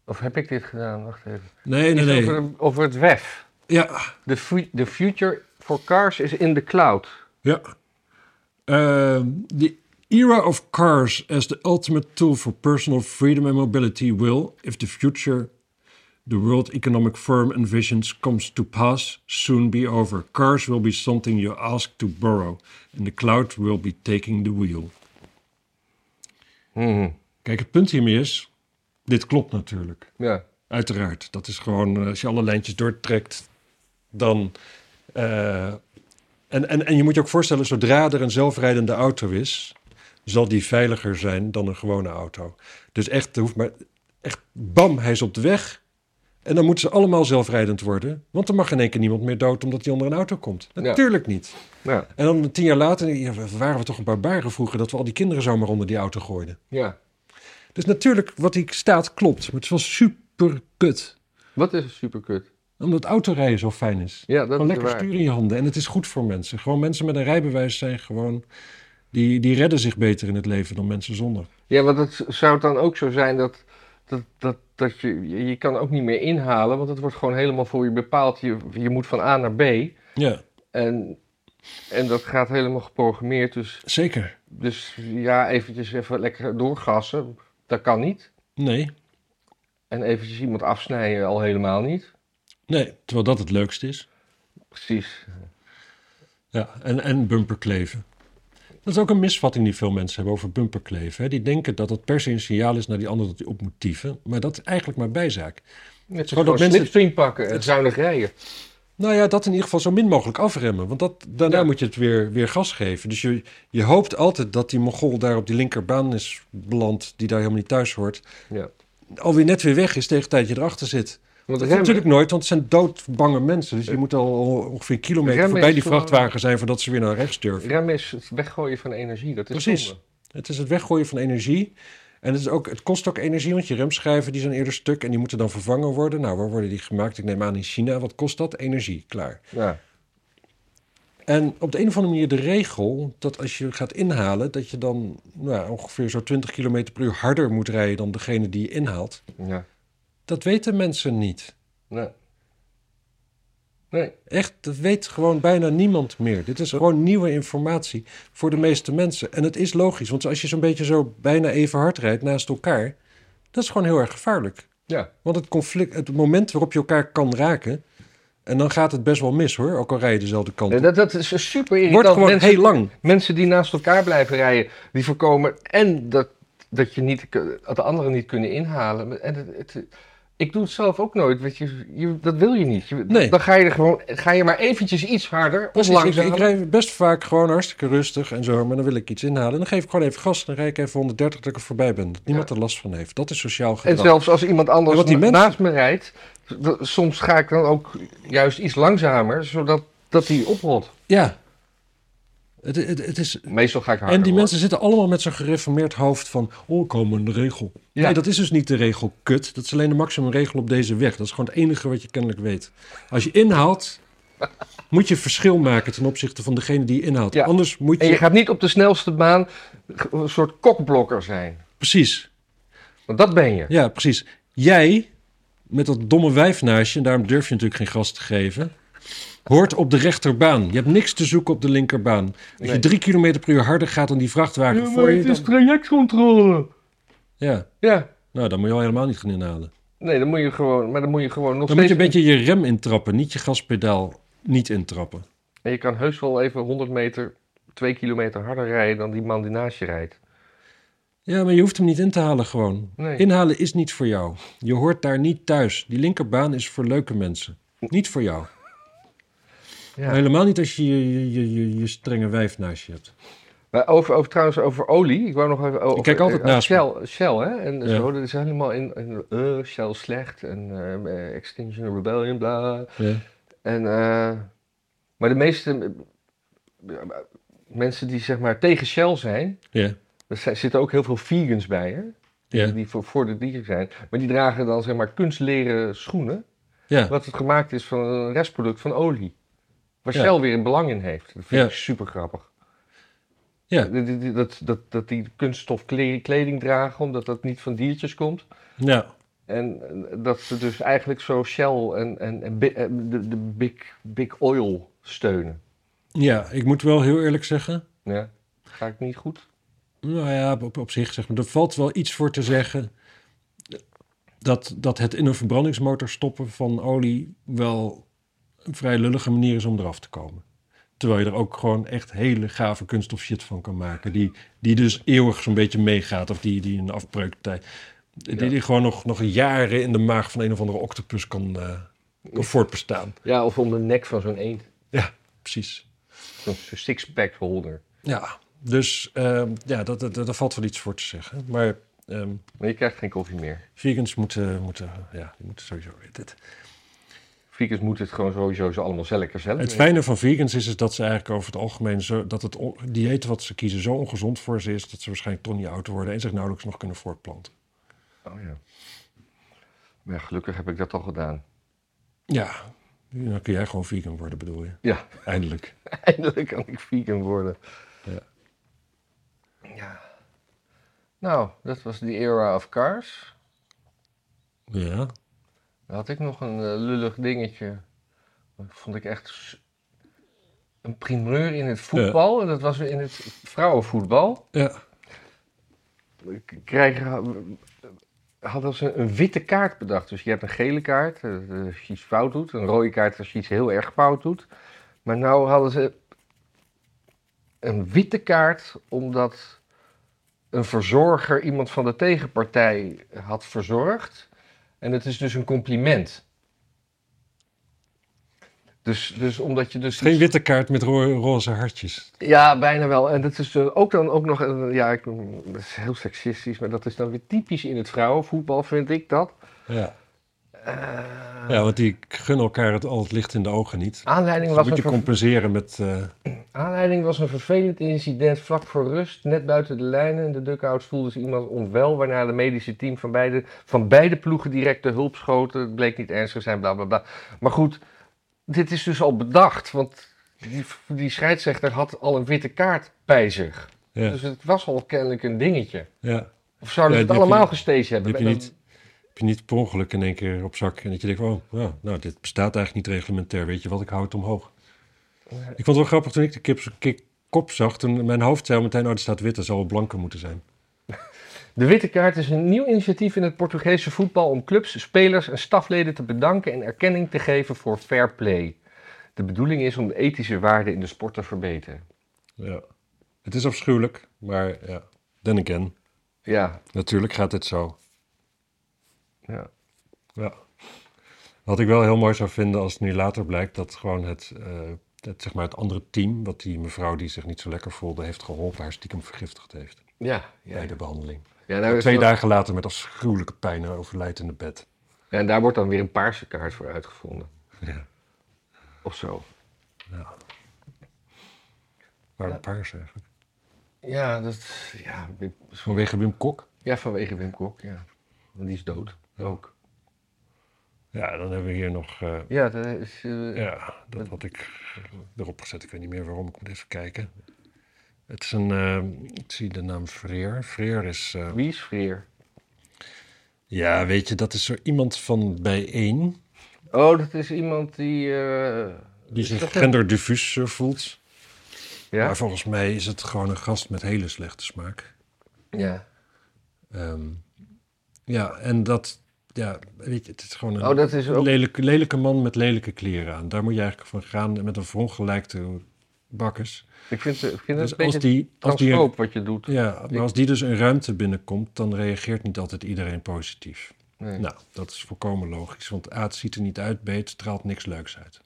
Speaker 2: Of heb ik dit gedaan? Wacht even.
Speaker 1: Nee, nee,
Speaker 2: Iets
Speaker 1: nee.
Speaker 2: Over, over het WEF.
Speaker 1: Ja,
Speaker 2: The, fu- the future for cars is in the cloud.
Speaker 1: ja. Ehm, the era of cars as the ultimate tool for personal freedom and mobility will, if the future the world economic firm envisions comes to pass, soon be over. Cars will be something you ask to borrow, and the cloud will be taking the wheel.
Speaker 2: Mhm.
Speaker 1: Kijk, het punt hiermee is, dit klopt natuurlijk.
Speaker 2: Ja.
Speaker 1: Uiteraard. Dat is gewoon, eh, als je alle lijntjes doortrekt, dan. eh, en, en, en je moet je ook voorstellen, zodra er een zelfrijdende auto is, zal die veiliger zijn dan een gewone auto. Dus echt, er hoeft maar. Echt, bam, hij is op de weg. En dan moeten ze allemaal zelfrijdend worden. Want er mag in één keer niemand meer dood omdat hij onder een auto komt.
Speaker 2: Ja.
Speaker 1: Natuurlijk niet.
Speaker 2: Ja.
Speaker 1: En dan tien jaar later ja, we- waren we toch een barbaren vroeger dat we al die kinderen zomaar onder die auto gooiden.
Speaker 2: ja.
Speaker 1: Dus natuurlijk, wat hier staat klopt. Maar het is wel super kut.
Speaker 2: Wat is een superkut?
Speaker 1: Omdat autorijden zo fijn is.
Speaker 2: Ja, dat
Speaker 1: Gewoon
Speaker 2: is
Speaker 1: lekker
Speaker 2: waar.
Speaker 1: stuur in je handen. En het is goed voor mensen. Gewoon mensen met een rijbewijs zijn gewoon... Die, die redden zich beter in het leven dan mensen zonder.
Speaker 2: Ja, want het zou het dan ook zo zijn dat, dat, dat, dat je, je je kan ook niet meer inhalen, want het wordt gewoon helemaal voor je bepaald. Je, je moet van A naar B
Speaker 1: Ja,
Speaker 2: en, en dat gaat helemaal geprogrammeerd. Dus,
Speaker 1: zeker.
Speaker 2: dus ja, eventjes even lekker doorgassen, dat kan niet.
Speaker 1: Nee,
Speaker 2: En eventjes iemand afsnijden al helemaal niet.
Speaker 1: nee. Terwijl dat het leukste is.
Speaker 2: Precies.
Speaker 1: Ja, en, en bumperkleven. Dat is ook een misvatting die veel mensen hebben over bumperkleven. Hè. Die denken dat dat per se een signaal is naar die ander dat hij op moet tieven. Maar dat is eigenlijk maar bijzaak.
Speaker 2: Het is
Speaker 1: dat
Speaker 2: gewoon dat
Speaker 1: mensen-
Speaker 2: slipstream pakken en zuinig rijden.
Speaker 1: Nou ja, dat in ieder geval zo min mogelijk afremmen. Want dat, daarna
Speaker 2: Ja.
Speaker 1: moet je het weer, weer gas geven. Dus je, je hoopt altijd dat die Mongool daar op die linkerbaan is beland... die daar helemaal niet thuis hoort.
Speaker 2: Ja.
Speaker 1: Alweer net weer weg is tegen het tijd je erachter zit.
Speaker 2: Want
Speaker 1: Dat is
Speaker 2: remmen-
Speaker 1: natuurlijk nooit, want het zijn doodbange mensen. Dus je moet al ongeveer een kilometer
Speaker 2: remmen
Speaker 1: voorbij
Speaker 2: is
Speaker 1: die
Speaker 2: gewoon-
Speaker 1: vrachtwagen zijn... voordat ze weer naar rechts durven.
Speaker 2: remmen is het weggooien van energie, dat is
Speaker 1: Precies.
Speaker 2: zonde.
Speaker 1: Het is het weggooien van energie. En het, is ook, het kost ook energie, want je remschijven die zijn eerder stuk... en die moeten dan vervangen worden. Nou, waar worden die gemaakt? Ik neem aan in China. Wat kost dat? Energie, klaar.
Speaker 2: Ja.
Speaker 1: En op de een of andere manier de regel dat als je gaat inhalen, dat je dan nou, ja, ongeveer zo 20 km per uur harder moet rijden dan degene die je inhaalt.
Speaker 2: Ja.
Speaker 1: Dat weten mensen niet.
Speaker 2: Nee. Nee.
Speaker 1: Echt, dat weet gewoon bijna niemand meer. Dit is gewoon nieuwe informatie voor de meeste mensen. En het is logisch, want als je zo'n beetje zo bijna even hard rijdt naast elkaar, dat is gewoon heel erg gevaarlijk.
Speaker 2: Ja.
Speaker 1: Want het, conflict, het moment waarop je elkaar kan raken, en dan gaat het best wel mis hoor, ook al rij je dezelfde kant
Speaker 2: Nee,
Speaker 1: op.
Speaker 2: Eh, Dat, dat is super irritant.
Speaker 1: Wordt gewoon
Speaker 2: mensen,
Speaker 1: heel lang.
Speaker 2: mensen die naast elkaar blijven rijden, die voorkomen en dat, dat je niet, dat de anderen niet kunnen inhalen. En het, het- ik doe het zelf ook nooit, weet je, je- dat wil je niet. Je-
Speaker 1: Nee.
Speaker 2: Dan ga je er gewoon, ga je maar eventjes iets harder of
Speaker 1: Precies, ik,
Speaker 2: langzamer.
Speaker 1: ik rijd best vaak gewoon hartstikke rustig en zo, maar dan wil ik iets inhalen. En dan geef ik gewoon even gas en dan rijd ik even 130 dat ik er voorbij ben. Dat niemand er last van heeft. Dat is sociaal
Speaker 2: en
Speaker 1: gedrag.
Speaker 2: zelfs als iemand anders
Speaker 1: En wat die
Speaker 2: na-
Speaker 1: mensen-
Speaker 2: naast me rijdt, d- soms ga ik dan ook juist iets langzamer, zodat dat die oprolt.
Speaker 1: Ja. Het, het, het is...
Speaker 2: Meestal ga ik harder.
Speaker 1: En die
Speaker 2: hoor.
Speaker 1: mensen zitten allemaal met zo'n gereformeerd hoofd van... Oh, komen de regel.
Speaker 2: Ja.
Speaker 1: Nee, dat is dus niet de regel, kut. Dat is alleen de maximumregel op deze weg. Dat is gewoon het enige wat je kennelijk weet. Als je inhaalt, moet je verschil maken ten opzichte van degene die je inhaalt.
Speaker 2: Ja.
Speaker 1: Anders moet
Speaker 2: En je gaat niet op de snelste baan een soort kokblokker zijn.
Speaker 1: Precies.
Speaker 2: Want dat ben je.
Speaker 1: Ja, precies. Jij, met dat domme wijf naast je, en daarom durf je natuurlijk geen gas te geven, hoort op de rechterbaan. Je hebt niks te zoeken op de linkerbaan. Als je
Speaker 2: Nee.
Speaker 1: drie kilometer per uur harder gaat dan die vrachtwagen voor je, dan-
Speaker 2: trajectcontrole.
Speaker 1: Ja,
Speaker 2: Ja,
Speaker 1: nou, dan moet je al helemaal niet gaan inhalen.
Speaker 2: nee, dan moet je gewoon, maar dan moet je gewoon nog
Speaker 1: Dan moet
Speaker 2: steeds...
Speaker 1: je een beetje je rem intrappen, niet je gaspedaal niet intrappen.
Speaker 2: En je kan heus wel even 100 meter, 2 kilometer harder rijden dan die man die naast je rijdt.
Speaker 1: Ja, maar je hoeft hem niet in te halen gewoon.
Speaker 2: Nee.
Speaker 1: Inhalen is niet voor jou. Je hoort daar niet thuis. Die linkerbaan is voor leuke mensen. Niet voor jou.
Speaker 2: Ja.
Speaker 1: Helemaal niet als je je, je, je, je strenge wijf naast je hebt.
Speaker 2: Maar over, over, trouwens, over olie. Ik wou nog even... Over,
Speaker 1: Ik kijk altijd
Speaker 2: eh,
Speaker 1: naast me.
Speaker 2: Shell, Shell, hè? En
Speaker 1: Ja.
Speaker 2: zo, dat is helemaal in... in eh, Shell slecht en eh, Extinction Rebellion, bla.
Speaker 1: Ja.
Speaker 2: En, eh, maar de meeste eh, mensen die zeg maar tegen Shell zijn...
Speaker 1: Ja.
Speaker 2: Er zijn- zitten ook heel veel vegans bij, hè? Die,
Speaker 1: Ja.
Speaker 2: die voor, voor de dieren zijn. Maar die dragen dan zeg maar kunstleren schoenen.
Speaker 1: Ja.
Speaker 2: Wat het gemaakt is van een restproduct van olie. Waar
Speaker 1: Ja.
Speaker 2: Shell weer een belang in heeft. Dat vind
Speaker 1: Ja.
Speaker 2: ik super grappig.
Speaker 1: Ja.
Speaker 2: Dat, dat, dat, dat die kunststof kle- kleding dragen, omdat dat niet van diertjes komt.
Speaker 1: Ja.
Speaker 2: En eh, dat ze dus eigenlijk zo Shell en, en, en bi- eh, de, de big, big Oil steunen.
Speaker 1: ja, ik moet wel heel eerlijk zeggen.
Speaker 2: Ja. Ga ik niet goed?
Speaker 1: Nou ja, op, op zich zeg maar. Er valt wel iets voor te zeggen dat, dat het in een verbrandingsmotor stoppen van olie wel een vrij lullige manier is om eraf te komen. Terwijl je er ook gewoon echt hele gave kunststof shit van kan maken. Die, die dus eeuwig zo'n beetje meegaat. Of die, die een afbreuktijd. Die, die gewoon nog, nog jaren in de maag van een of andere octopus kan, eh, kan voortbestaan.
Speaker 2: Ja, of om de nek van zo'n eend.
Speaker 1: Ja, precies.
Speaker 2: Zo'n six-pack holder.
Speaker 1: Ja, dus ehm, ja, dat, dat, daar valt wel iets voor te zeggen. Maar ehm,
Speaker 2: Maar je krijgt geen koffie meer.
Speaker 1: vegans moeten, moeten, ja, die moeten sowieso... Dit.
Speaker 2: Vegans moeten het gewoon sowieso zo allemaal zelf zelf.
Speaker 1: Het fijne van vegans is, is dat ze eigenlijk over het algemeen... Zo, dat het on- dieet wat ze kiezen zo ongezond voor ze is... dat ze waarschijnlijk toch niet oud worden... en zich nauwelijks nog kunnen voortplanten.
Speaker 2: Oh, ja. Maar ja, gelukkig heb ik dat al gedaan.
Speaker 1: Ja, dan kun jij gewoon vegan worden, bedoel je.
Speaker 2: Ja,
Speaker 1: Eindelijk.
Speaker 2: eindelijk kan ik vegan worden.
Speaker 1: Ja.
Speaker 2: Ja. Nou, dat was die era of cars.
Speaker 1: Ja,
Speaker 2: Dan had ik nog een eh, lullig dingetje. Dat vond ik echt s- een primeur in het voetbal. En dat was weer in het vrouwenvoetbal.
Speaker 1: ja.
Speaker 2: K- Krijgen, hadden ze een witte kaart bedacht. Dus je hebt een gele kaart eh, als je iets fout doet. Een rode kaart als je iets heel erg fout doet. Maar nou hadden ze een witte kaart omdat een verzorger iemand van de tegenpartij had verzorgd. En het is dus een compliment. Dus, dus omdat je dus
Speaker 1: Geen witte kaart met ro- roze hartjes.
Speaker 2: ja, bijna wel. En dat is eh, ook dan ook nog, een- ja, ik, dat is heel seksistisch, maar dat is dan weer typisch in het vrouwenvoetbal, vind ik dat.
Speaker 1: Ja.
Speaker 2: Eh,
Speaker 1: Ah. ja, want die gunnen elkaar het, al het licht in de ogen niet.
Speaker 2: aanleiding,
Speaker 1: Dat
Speaker 2: was
Speaker 1: moet
Speaker 2: een
Speaker 1: je
Speaker 2: ver-
Speaker 1: compenseren met... eh,
Speaker 2: aanleiding was een vervelend incident vlak voor rust, net buiten de lijnen. In de dugout voelde zich iemand onwel, waarna de medische team van beide, van beide ploegen direct de hulp schoten. Het bleek niet ernstig te zijn, bla bla bla. Maar goed, dit is dus al bedacht, want die, die scheidsrechter had al een witte kaart bij zich.
Speaker 1: ja,
Speaker 2: Dus het was al kennelijk een dingetje.
Speaker 1: ja.
Speaker 2: Of
Speaker 1: Ja,
Speaker 2: zouden
Speaker 1: die
Speaker 2: ze het
Speaker 1: heb je-
Speaker 2: allemaal gestezen hebben?
Speaker 1: die heb je
Speaker 2: Met
Speaker 1: niet. Heb je niet per ongeluk in één keer op zak en dat je denkt, oh, ja, nou, dit bestaat eigenlijk niet reglementair. Weet je wat, ik hou het omhoog. Ik vond het wel grappig toen ik de kip, kip- kop zag, toen mijn hoofd zei al meteen, oh, er staat wit, dat zou wel blanker moeten zijn.
Speaker 2: De Witte Kaart is een nieuw initiatief in het Portugese voetbal om clubs, spelers en stafleden te bedanken en erkenning te geven voor fair play. De bedoeling is om de ethische waarden in de sport te verbeteren.
Speaker 1: Ja. Het is afschuwelijk, maar ja, then again.
Speaker 2: Ja,
Speaker 1: Natuurlijk gaat dit zo.
Speaker 2: ja.
Speaker 1: Ja. Wat ik wel heel mooi zou vinden als het nu later blijkt dat gewoon het, eh, het, zeg maar het andere team, wat die mevrouw die zich niet zo lekker voelde, heeft geholpen, haar stiekem vergiftigd heeft
Speaker 2: Ja,
Speaker 1: bij de behandeling.
Speaker 2: Ja, nou is
Speaker 1: Twee
Speaker 2: dat-
Speaker 1: dagen later met afschuwelijke pijn overlijdt in de bed.
Speaker 2: ja, en daar wordt dan weer een paarse kaart voor uitgevonden.
Speaker 1: Ja.
Speaker 2: Of zo.
Speaker 1: Waarom paars eigenlijk?
Speaker 2: Ja, dat, ja, Wim-
Speaker 1: Vanwege Wim Kok?
Speaker 2: ja vanwege Wim Kok, ja. Want die is dood. Ook.
Speaker 1: Ja, dan hebben we hier nog... eh,
Speaker 2: Ja, dat is... eh,
Speaker 1: ja, dat had ik erop gezet. Ik weet niet meer waarom. Ik moet even kijken. Het is een... eh, ik zie de naam Freer. Freer is... eh,
Speaker 2: Wie is Freer?
Speaker 1: ja, weet je, dat is zo iemand van bijeen...
Speaker 2: Oh, dat is iemand die... eh,
Speaker 1: die
Speaker 2: is
Speaker 1: zich
Speaker 2: dat een-
Speaker 1: genderdiffuus eh, voelt.
Speaker 2: Ja?
Speaker 1: Maar volgens mij is het gewoon een gast met hele slechte smaak.
Speaker 2: Ja.
Speaker 1: Ehm, ja, en dat... Ja, weet je, het is gewoon een...
Speaker 2: Oh, dat is ook...
Speaker 1: Lelijke, lelijke man met lelijke kleren aan. Daar moet je eigenlijk van gaan en met een verongelijkte bakkers.
Speaker 2: Ik vind, ik vind het
Speaker 1: Dus
Speaker 2: een
Speaker 1: als
Speaker 2: beetje
Speaker 1: die, als, die,
Speaker 2: transfoob wat je doet.
Speaker 1: ja, maar als die dus een ruimte binnenkomt, dan reageert niet altijd iedereen positief.
Speaker 2: Nee.
Speaker 1: Nou, dat is volkomen logisch, want A, het ziet er niet uit, B, het straalt niks leuks uit.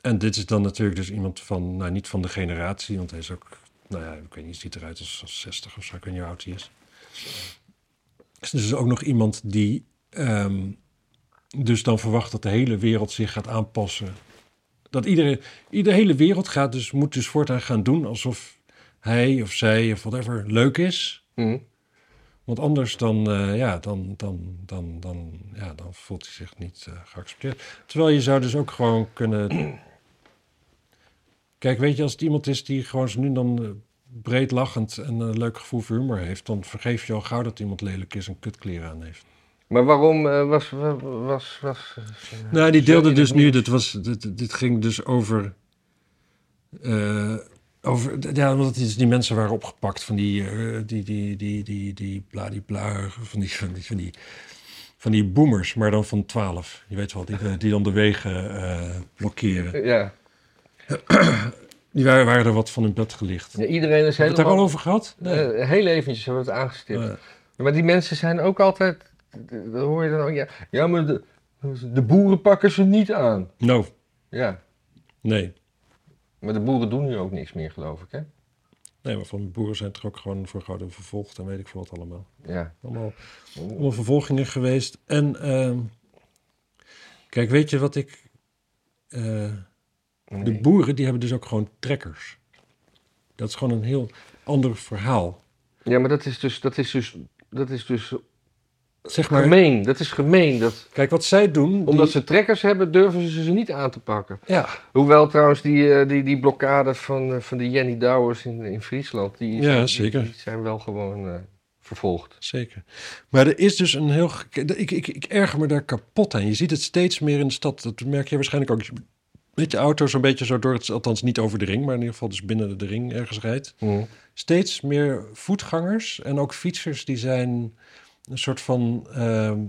Speaker 1: En dit is dan natuurlijk dus iemand van, nou niet van de generatie, want hij is ook, nou ja, ik weet niet, ziet eruit als, als 60 of zo, ik weet niet hoe oud hij is. Is dus ook nog iemand die ehm, dus dan verwacht dat de hele wereld zich gaat aanpassen. Dat iedere, ieder- de hele wereld gaat dus, moet dus voortaan gaan doen alsof hij of zij of whatever leuk is.
Speaker 2: Hm.
Speaker 1: Want anders dan, eh, ja, dan, dan, dan, dan, ja, dan voelt hij zich niet eh, geaccepteerd. Terwijl je zou dus ook gewoon kunnen... Kijk, weet je, als het iemand is die gewoon zo nu en dan eh, breed lachend en een leuk gevoel voor humor heeft... dan vergeef je al gauw dat iemand lelijk is en kutkleren aan heeft.
Speaker 2: Maar waarom eh, was... wa- was, was
Speaker 1: Nou, die
Speaker 2: Zo in
Speaker 1: deelde
Speaker 2: het
Speaker 1: dus nu,
Speaker 2: nieuws.
Speaker 1: dit, was, dit, dit ging dus over eh, Over, ja, omdat dus die, die mensen waren opgepakt van die, eh, die, die, die, die, die, bla, die, bla, van die, van die, van die, van die boomers, maar dan van 12. Je weet wel, die, eh, die dan de wegen eh, blokkeren.
Speaker 2: Ja.
Speaker 1: Die waren, waren er wat van hun bed gelicht.
Speaker 2: ja, iedereen
Speaker 1: Heb
Speaker 2: is
Speaker 1: je het daar al
Speaker 2: helemaal...
Speaker 1: over gehad? Nee.
Speaker 2: Eh, heel eventjes hebben we het aangestipt.
Speaker 1: Eh,
Speaker 2: Ja, Maar die mensen zijn ook altijd, dat hoor je dan ook, ja, ja maar de, de boeren pakken ze niet aan.
Speaker 1: nou,
Speaker 2: Ja,
Speaker 1: nee.
Speaker 2: maar de boeren doen nu ook niks meer, geloof ik, hè?
Speaker 1: Nee, maar van de boeren zijn toch ook gewoon voor gouden vervolgd en weet ik veel wat allemaal.
Speaker 2: Ja.
Speaker 1: Allemaal, allemaal vervolgingen geweest. En ehm, kijk, weet je wat ik... eh, De boeren die hebben dus ook gewoon trekkers. Dat is gewoon een heel ander verhaal.
Speaker 2: Ja, maar dat is dus, dat is dus, dat is dus
Speaker 1: Zeg maar,
Speaker 2: gemeen. Dat is gemeen. Dat,
Speaker 1: kijk wat zij doen.
Speaker 2: omdat
Speaker 1: die-
Speaker 2: ze trekkers hebben, durven ze ze niet aan te pakken.
Speaker 1: Ja,
Speaker 2: Hoewel trouwens die, eh, die, die blokkade van, eh, van de Jenny Douwers in, in Friesland, die,
Speaker 1: Ja,
Speaker 2: die-
Speaker 1: zeker.
Speaker 2: die zijn wel gewoon eh, vervolgd.
Speaker 1: zeker. Maar er is dus een heel... ge- Ik, ik, ik erger me daar kapot aan. Je ziet het steeds meer in de stad. Dat merk je waarschijnlijk ook. als je Met je auto zo'n beetje zo door het... Althans niet over de ring, maar in ieder geval dus binnen de ring ergens rijdt. Steeds meer voetgangers en ook fietsers die zijn een soort van... ehm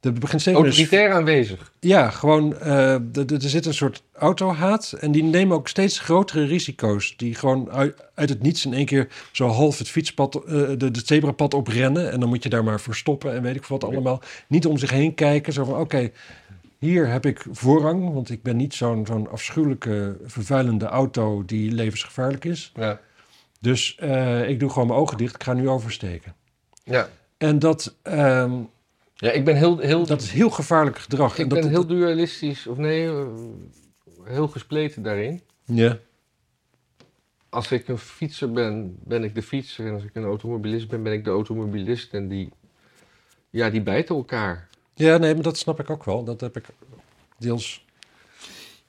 Speaker 1: er begint steeds meer... een
Speaker 2: Autoritair aanwezig.
Speaker 1: Ja, gewoon, eh, d- d- er zit een soort autohaat. En die nemen ook steeds grotere risico's. Die gewoon uit, uit het niets in één keer zo half het fietspad, eh, de, de zebrapad oprennen. En dan moet je daar maar voor stoppen en weet ik veel wat allemaal. Niet om zich heen kijken. Zo van, oké, hier heb ik voorrang. Want ik ben niet zo'n zo'n afschuwelijke, vervuilende auto die levensgevaarlijk is.
Speaker 2: Ja.
Speaker 1: Dus eh, ik doe gewoon mijn ogen dicht. Ik ga nu oversteken.
Speaker 2: Ja.
Speaker 1: En dat, ehm,
Speaker 2: ja, ik ben heel, heel
Speaker 1: dat is heel gevaarlijk gedrag. en
Speaker 2: Ik
Speaker 1: dat,
Speaker 2: ben heel dualistisch, of nee, eh, heel gespleten daarin.
Speaker 1: Ja,
Speaker 2: Als ik een fietser ben, ben ik de fietser. En als ik een automobilist ben, ben ik de automobilist. En die, ja, die bijten elkaar.
Speaker 1: Ja, nee, maar dat snap ik ook wel. Dat heb ik deels,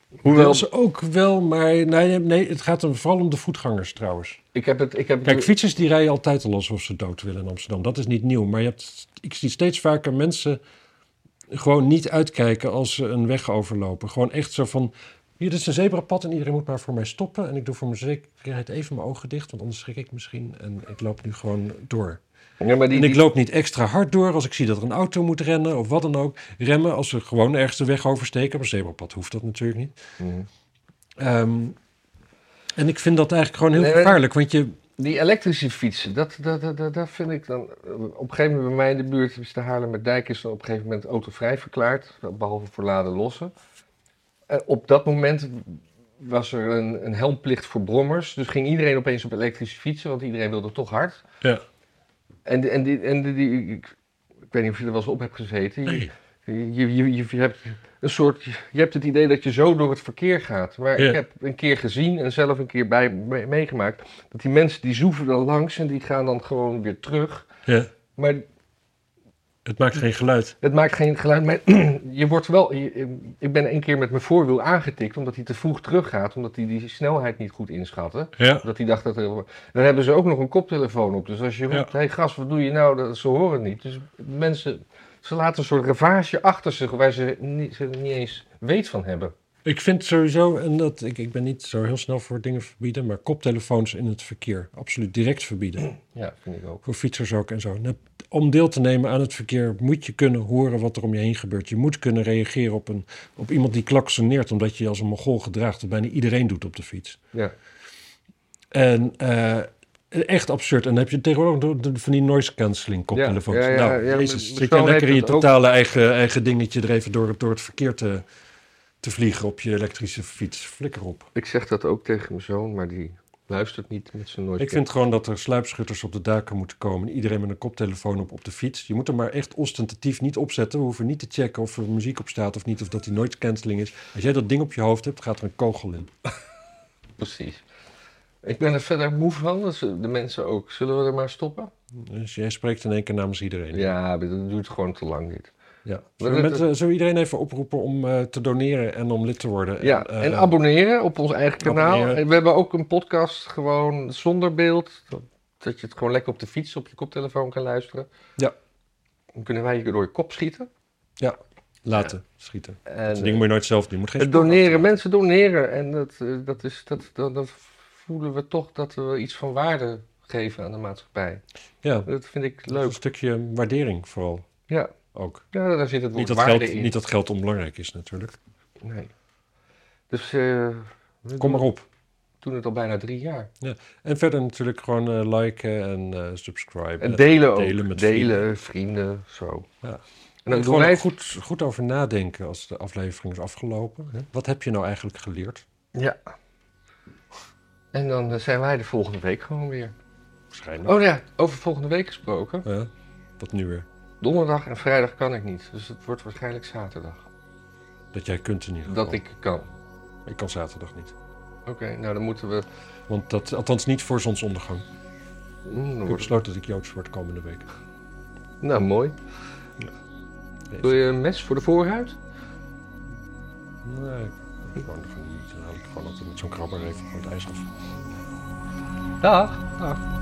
Speaker 2: Hoewel,
Speaker 1: deels ook wel, maar nee, nee, het gaat hem vooral om de voetgangers trouwens.
Speaker 2: ik heb het... Ik heb
Speaker 1: Kijk,
Speaker 2: het-
Speaker 1: fietsers die rijden altijd al alsof ze dood willen in Amsterdam. Dat is niet nieuw, maar je hebt, ik zie steeds vaker mensen gewoon niet uitkijken als ze een weg overlopen. Gewoon echt zo van, hier dit is een zebrapad en iedereen moet maar voor mij stoppen. En ik doe voor mijn zekerheid even mijn ogen dicht, want anders schrik ik misschien. En ik loop nu gewoon door.
Speaker 2: ja, maar die,
Speaker 1: En ik
Speaker 2: die-
Speaker 1: loop niet extra hard door als ik zie dat er een auto moet rennen of wat dan ook. Remmen als ze gewoon ergens de weg oversteken. Op een zebrapad hoeft dat natuurlijk niet.
Speaker 2: Mhm.
Speaker 1: Ehm, en ik vind dat eigenlijk gewoon heel
Speaker 2: Nee, maar-
Speaker 1: gevaarlijk. Want je,
Speaker 2: die elektrische fietsen, dat, dat, dat, dat, dat vind ik dan... eh, Op een gegeven moment bij mij in de buurt, is de Haarlemmerdijk, is dan op een gegeven moment autovrij verklaard. Behalve voor laden lossen. En op dat moment was er een, een helmplicht voor brommers. Dus ging iedereen opeens op elektrische fietsen, want iedereen wilde toch hard.
Speaker 1: ja.
Speaker 2: En, die- en, die, en die, die- ik, ik weet niet of je er wel eens op hebt gezeten. Je,
Speaker 1: Nee.
Speaker 2: je, je, je, je hebt een soort, je hebt het idee dat je zo door het verkeer gaat. Maar
Speaker 1: Ja.
Speaker 2: ik heb een keer gezien en zelf een keer bij, me- meegemaakt dat die mensen die zoeven dan langs en die gaan dan gewoon weer terug.
Speaker 1: ja,
Speaker 2: Maar
Speaker 1: het maakt geen geluid.
Speaker 2: het maakt geen geluid. Maar je wordt wel. je- ik ben een keer met mijn voorwiel aangetikt omdat hij te vroeg teruggaat, omdat hij die snelheid niet goed inschatten.
Speaker 1: Ja,
Speaker 2: Dat hij dacht dat er... Dan hebben ze ook nog een koptelefoon op. Dus als je roept,
Speaker 1: Ja.
Speaker 2: hey gast, wat doe je nou? Dat, ze horen het niet. Dus mensen, ze laten een soort ravage achter zich waar ze niet, ze niet eens weet van hebben.
Speaker 1: ik vind sowieso, en dat, ik, ik ben niet zo heel snel voor dingen verbieden, maar koptelefoons in het verkeer. Absoluut direct verbieden.
Speaker 2: Ja, vind ik ook.
Speaker 1: Voor fietsers ook en zo. Net- Om deel te nemen aan het verkeer moet je kunnen horen wat er om je heen gebeurt. Je moet kunnen reageren op, een, op iemand die klaksoneert omdat je je als een mongool gedraagt. Dat bijna iedereen doet op de fiets.
Speaker 2: Ja.
Speaker 1: En eh, echt absurd. En dan heb je tegenwoordig ook de- de- van die noise cancelling koptelefoons.
Speaker 2: Ja, ja, ja,
Speaker 1: nou,
Speaker 2: ja, maar
Speaker 1: jezus, zit jij
Speaker 2: Persoon
Speaker 1: lekker in je
Speaker 2: heeft het ook.
Speaker 1: totale eigen, eigen dingetje er even door, door het verkeer te, te vliegen op je elektrische fiets. Flikker op.
Speaker 2: Ik zeg dat ook tegen mijn zoon, maar die luistert niet met zijn nooit.
Speaker 1: Ik vind gewoon dat er sluipschutters op de daken moeten komen. Iedereen met een koptelefoon op op de fiets. Je moet hem maar echt ostentatief niet opzetten. We hoeven niet te checken of er muziek op staat of niet. Of dat die noise cancelling is. Als jij dat ding op je hoofd hebt, gaat er een kogel in.
Speaker 2: Precies. Ik ben er verder moe van, dus de mensen ook. Zullen we er maar stoppen?
Speaker 1: Dus jij spreekt in één keer namens iedereen.
Speaker 2: Ja, maar dat duurt gewoon te lang dit.
Speaker 1: Ja.
Speaker 2: Maar
Speaker 1: Zullen, we
Speaker 2: dat-
Speaker 1: mensen- zullen we iedereen even oproepen om eh, te doneren en om lid te worden?
Speaker 2: Ja,
Speaker 1: eh,
Speaker 2: en abonneren op ons eigen kanaal.
Speaker 1: abonneren.
Speaker 2: En we hebben ook een podcast gewoon zonder beeld. Dat je het gewoon lekker op de fiets op je koptelefoon kan luisteren.
Speaker 1: Ja.
Speaker 2: Dan kunnen wij je door je kop schieten.
Speaker 1: Ja. laten schieten.
Speaker 2: En, eh,
Speaker 1: Dat ding moet je nooit zelf doen. Je Moet geen
Speaker 2: Het
Speaker 1: spoor
Speaker 2: doneren,
Speaker 1: achterlaten.
Speaker 2: mensen doneren. En dat, eh, dat is, dat, dat, dat voelen we toch dat we iets van waarde geven aan de maatschappij.
Speaker 1: Ja,
Speaker 2: Dat vind ik
Speaker 1: een
Speaker 2: leuk.
Speaker 1: stukje eh, waardering vooral
Speaker 2: Ja,
Speaker 1: ook.
Speaker 2: ja daar zit het woord
Speaker 1: Niet dat,
Speaker 2: waarde
Speaker 1: geld,
Speaker 2: in.
Speaker 1: niet dat geld onbelangrijk is natuurlijk.
Speaker 2: Nee. Dus eh, we
Speaker 1: Kom maar
Speaker 2: doen-
Speaker 1: op.
Speaker 2: doen het al bijna drie jaar.
Speaker 1: En verder natuurlijk gewoon eh, liken en eh subscriben.
Speaker 2: En delen ook.
Speaker 1: delen met
Speaker 2: delen, vrienden, zo.
Speaker 1: Ja.
Speaker 2: En dan doen
Speaker 1: gewoon
Speaker 2: wij...
Speaker 1: goed, goed over nadenken als de aflevering is afgelopen. hè. Wat heb je nou eigenlijk geleerd?
Speaker 2: Ja. En dan eh, zijn wij de volgende week gewoon weer.
Speaker 1: Waarschijnlijk.
Speaker 2: Oh ja, over volgende week gesproken.
Speaker 1: Ja, wat nu weer?
Speaker 2: Donderdag en vrijdag kan ik niet. Dus het wordt waarschijnlijk zaterdag.
Speaker 1: Dat jij kunt in ieder geval.
Speaker 2: Dat ik kan.
Speaker 1: Ik kan zaterdag niet.
Speaker 2: Oké, nou dan moeten we.
Speaker 1: Want dat, althans niet voor zonsondergang. Ik
Speaker 2: Mm, dan
Speaker 1: heb
Speaker 2: wordt-
Speaker 1: besloten dat ik Joods word komende week.
Speaker 2: Nou, mooi. Wil je een mes voor de voorhuid?
Speaker 1: Nee, ik- gewoon, gewoon niet. Dan haal ik gewoon altijd met zo'n krabber even gewoon het ijs af.
Speaker 2: Dag. Dag.